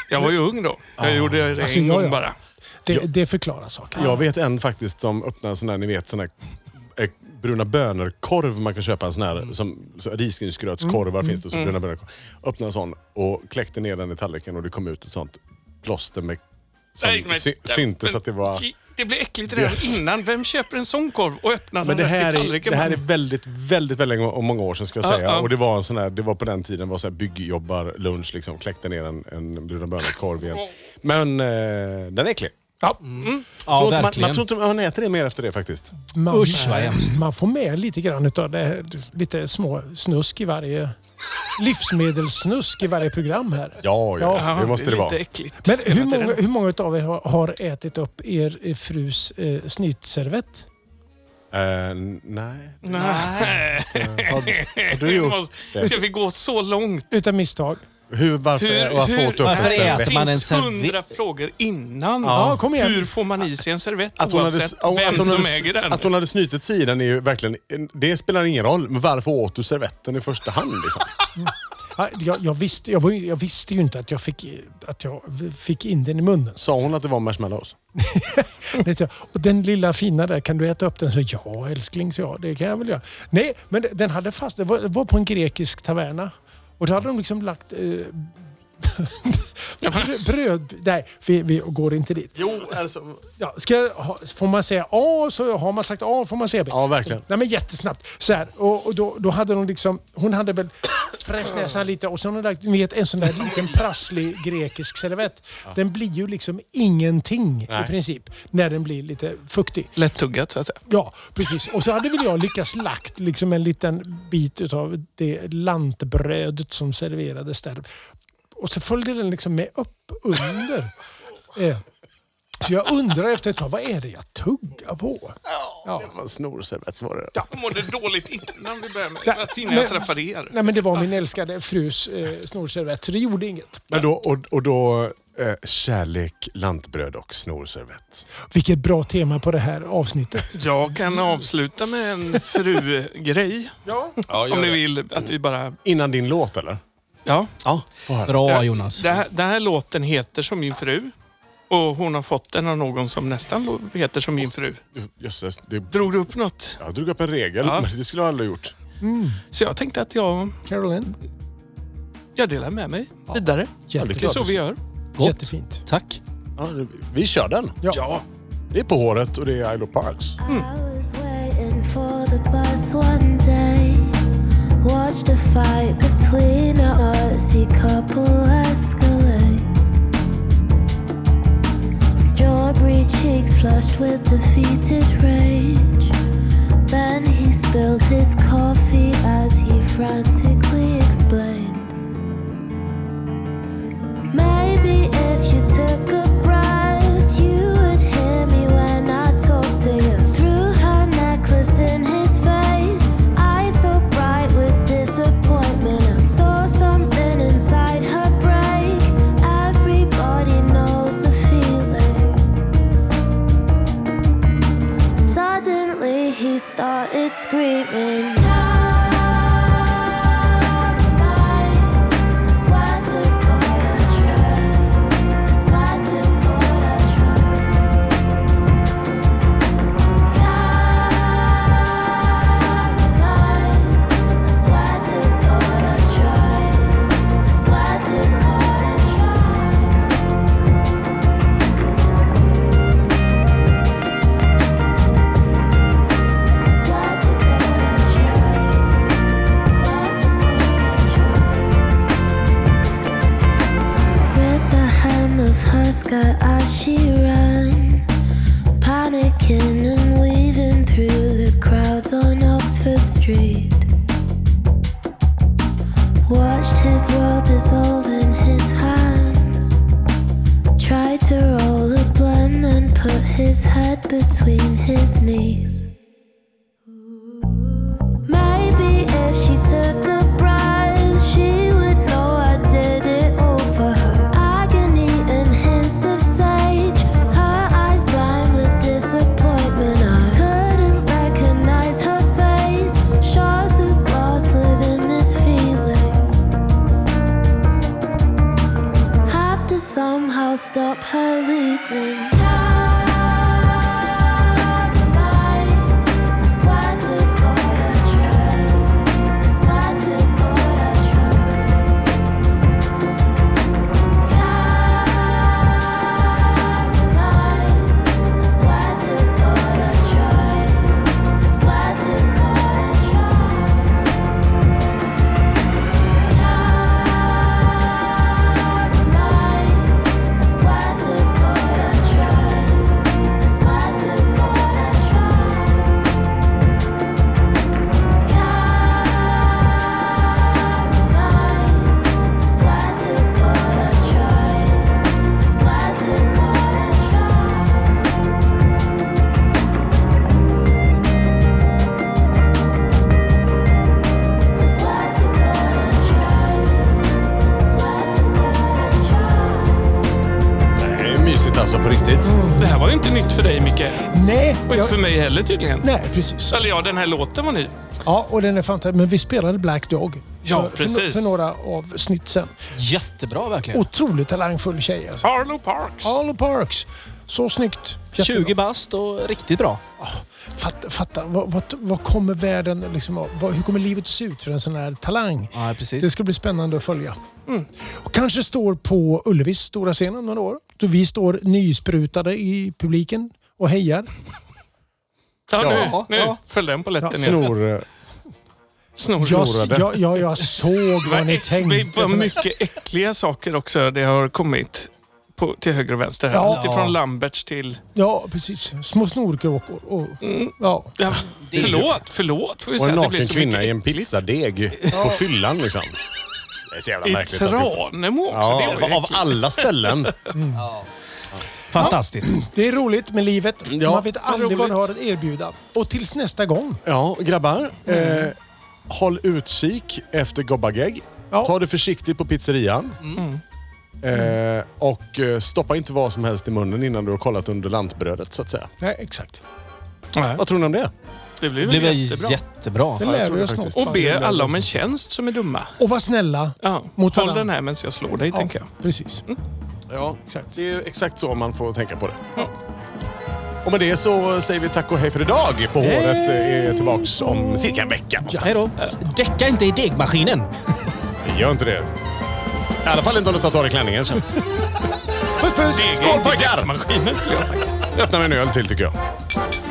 Jag var ju ung då. Jag gjorde det Alltså, en ja, gång ja. bara. på... Det, det förklarar saker. Jag vet en faktiskt som öppnar en sån här, ni vet, sån här eh, bruna bönor-korv man kan köpa. En sån Mm. här som så risgrynsgrötskorvar finns det. och Så bruna bönor. Öppnade en sån och kläckte ner den i tallriken och det kom ut ett sånt plåster med som Nej, men- sy- syntes att det var... Det blir äckligt redan innan. Vem köper en sån korv och öppnar Men den det här, rätt i är, tallriken? det här är Man- väldigt, väldigt, väldigt länge- och många år sedan ska jag Ja, säga. ja. Och det var en sån här, det var på den tiden var så här byggjobbarlunch liksom. Kläckte ner en, en bruna bönor-korv igen. Men eh, den är äcklig. Ja. Ja, Tror inte man, man verkligen. tror inte man äter det mer efter det faktiskt. Man, Usch, vad hemskt. man får med lite grann av det här, lite små snusk i varje... Livsmedelssnusk i varje program här. Ja, ja. Ja. det måste det vara. Lite äckligt. Men hela hur många, tiden. hur många av er har, har ätit upp er eh, frus eh, snytservett? Eh, nej. Nej. Har, har du gjort det? Ska vi gå så långt? Utan misstag. Hur, varför, Hur, varför hur, åt du upp en varför servett? äter man en finns servett? hundra frågor innan. Ja, kom igen. Hur får man i sig en servett Att hon, hade, oavsett ja, vem att, hon som hade, äger den? att hon hade snytit sig i den är ju verkligen... Det spelar ingen roll. Men varför åt du servetten i första hand? Liksom? Ja, Ah, Jag, jag, visste, jag, var, ju- jag visste ju inte att jag fick, att jag fick in den i munnen. Sa hon att det var marshmallows? Vet jag. Och den lilla fina där, kan du äta upp den? Så ja älskling, så ja, det kan jag väl göra. Nej, men det- den hade fast, det var, det var på en grekisk taverna. Och då hade de liksom lagt eh, bröd... Nej, vi, vi går inte dit. Jo, alltså... Ja, ska, jag ha- får man säga A så har man sagt A, får man säga B. Ja, verkligen. Nej, men jättesnabbt. Så här, och och då, då hade de liksom, hon hade väl fräst näsan lite och sen har hon lagt, ni vet, en sån där liten prasslig grekisk servett. Den blir ju liksom ingenting i princip när den blir lite fuktig. Lättuggat så att säga. Ja, precis. Och så hade väl jag lyckats lagt liksom en liten bit utav det lantbrödet som serverades där. Och så följde den liksom med upp under. Eh, Så jag undrar efter ett tag, vad är det jag tuggar på? Ja, det var en snorservett var det. Jag mådde dåligt innan vi började med Nej, att innan men- jag träffade er. Nej men det var min älskade frus eh, snorservett, så det gjorde inget. Men då, och, och då eh, kärlek, lantbröd och snorservett. Vilket bra tema på det här avsnittet. Jag kan avsluta med en frugrej. om ni vill att vi bara... Innan din låt eller? Ja. Ja, få höra. Bra Jonas. Den här, den här låten heter Som min fru. Och hon har fått den av någon som nästan lo- heter Som min fru. Jösses, det, Drog du upp något? jag drog upp en regel, Ja. men det skulle jag aldrig gjort. Så jag tänkte att jag, Caroline, jag delar med mig vidare. Det är klart jättefint. så vi gör. Gott. Jättefint. Tack. Ja, vi kör den. Ja. Det är på håret och det är Isle of Parks. I was waiting for the bus one day. Watched a fight between a Aussie couple escalate. Strawberry cheeks flushed with defeated rage. Then he spilled his coffee as he frantically explained. Maybe if you took a breath, you would hear me when I talk to you. Through her necklace in his face, eyes so bright with disappointment. I saw something inside her break. Everybody knows the feeling. Suddenly he started screaming. Caroline. I swear to God I tried. I swear to God I tried. I swear to God I tried. I swear to God I tried. I swear to God I tried. I swear to God I tried. Ripped the hem of her skirt as she ran, panicking and weaving through the crowds on Oxford Street. Watched his world dissolve in his hands. Tried to roll a blend, then put his head between his knees. Maybe if she took a breath, she would know I did it all for her. Agony and hints of sage, her eyes blind with disappointment. I couldn't recognize her face. Shards of glass live in this feeling. alltså, Mm. nytt för dig Micke. Nej, Och inte jag, för mig heller tydligen. nej, precis. Eller ja, den här låten var ny. Ja, och den är fantastisk. Men vi spelade Black Dog. Ja, för, För, precis. för några avsnitt sen. Jättebra Oh, verkligen. Otroligt talangfull tjej alltså. Harlow Parks. Arlo Parks. Så snyggt. Jättebra. 20 bast och riktigt bra. Fatta, fatta vad, vad, vad kommer världen liksom av? Vad, hur kommer livet se ut för en sån här talang? Ja, precis. Det ska bli spännande att följa. Och kanske står på Ullevis stora scen om några år. Då vi står nysprutade i publiken och hejar. Ja, Ja, nu, nu ja. föll den på lätten Ja, igen. Snor... eh, Snor. Jag, Förlorade. jag, jag, jag såg vad ni Vad äck- tänkte. vad mycket äckliga saker också det har kommit på, till höger och vänster. Här. Ja. Lite från Lamberts till... Ja, precis. Små snorkråkor. Och, ja. Ja, förlåt, förlåt får vi Och säga. en att det blir naken så kvinna mycket i en äckligt. pizzadeg på fyllan liksom. Det är så jävla I märkligt. att vi- Tranemo också. det Ja, är av- av äckligt. alla ställen. Fantastiskt. Det är roligt med livet. Ja, Man vet aldrig vad det har roligt. att erbjuda. Och tills nästa gång. Ja, grabbar. Eh, håll utkik efter Gobbageg. Ja. Ta det försiktigt på pizzerian. Eh, och eh, stoppa inte vad som helst i munnen innan du har kollat under lantbrödet så att säga. Nej, exakt. Nej, Vad tror ni om det? Det blir Det väl var jättebra. jättebra. Det jag lär tror vi det oss faktiskt. något. Och be alla om en tjänst som är dumma. Och var snälla. Ja. Mot Håll varandra. den här medan jag slår dig, tänker jag. Precis. Ja, exakt. Det är ju exakt så man får tänka på det. Och med det så säger vi tack och hej för idag. På håret eh, är tillbaks om cirka en vecka. Hej då. Däcka inte i degmaskinen. Gör inte det. I alla fall inte om du tar tag i klänningen. Så. Puss puss! Skål pojkar! Maskinen skulle jag ha sagt. Öppna med en öl till tycker jag.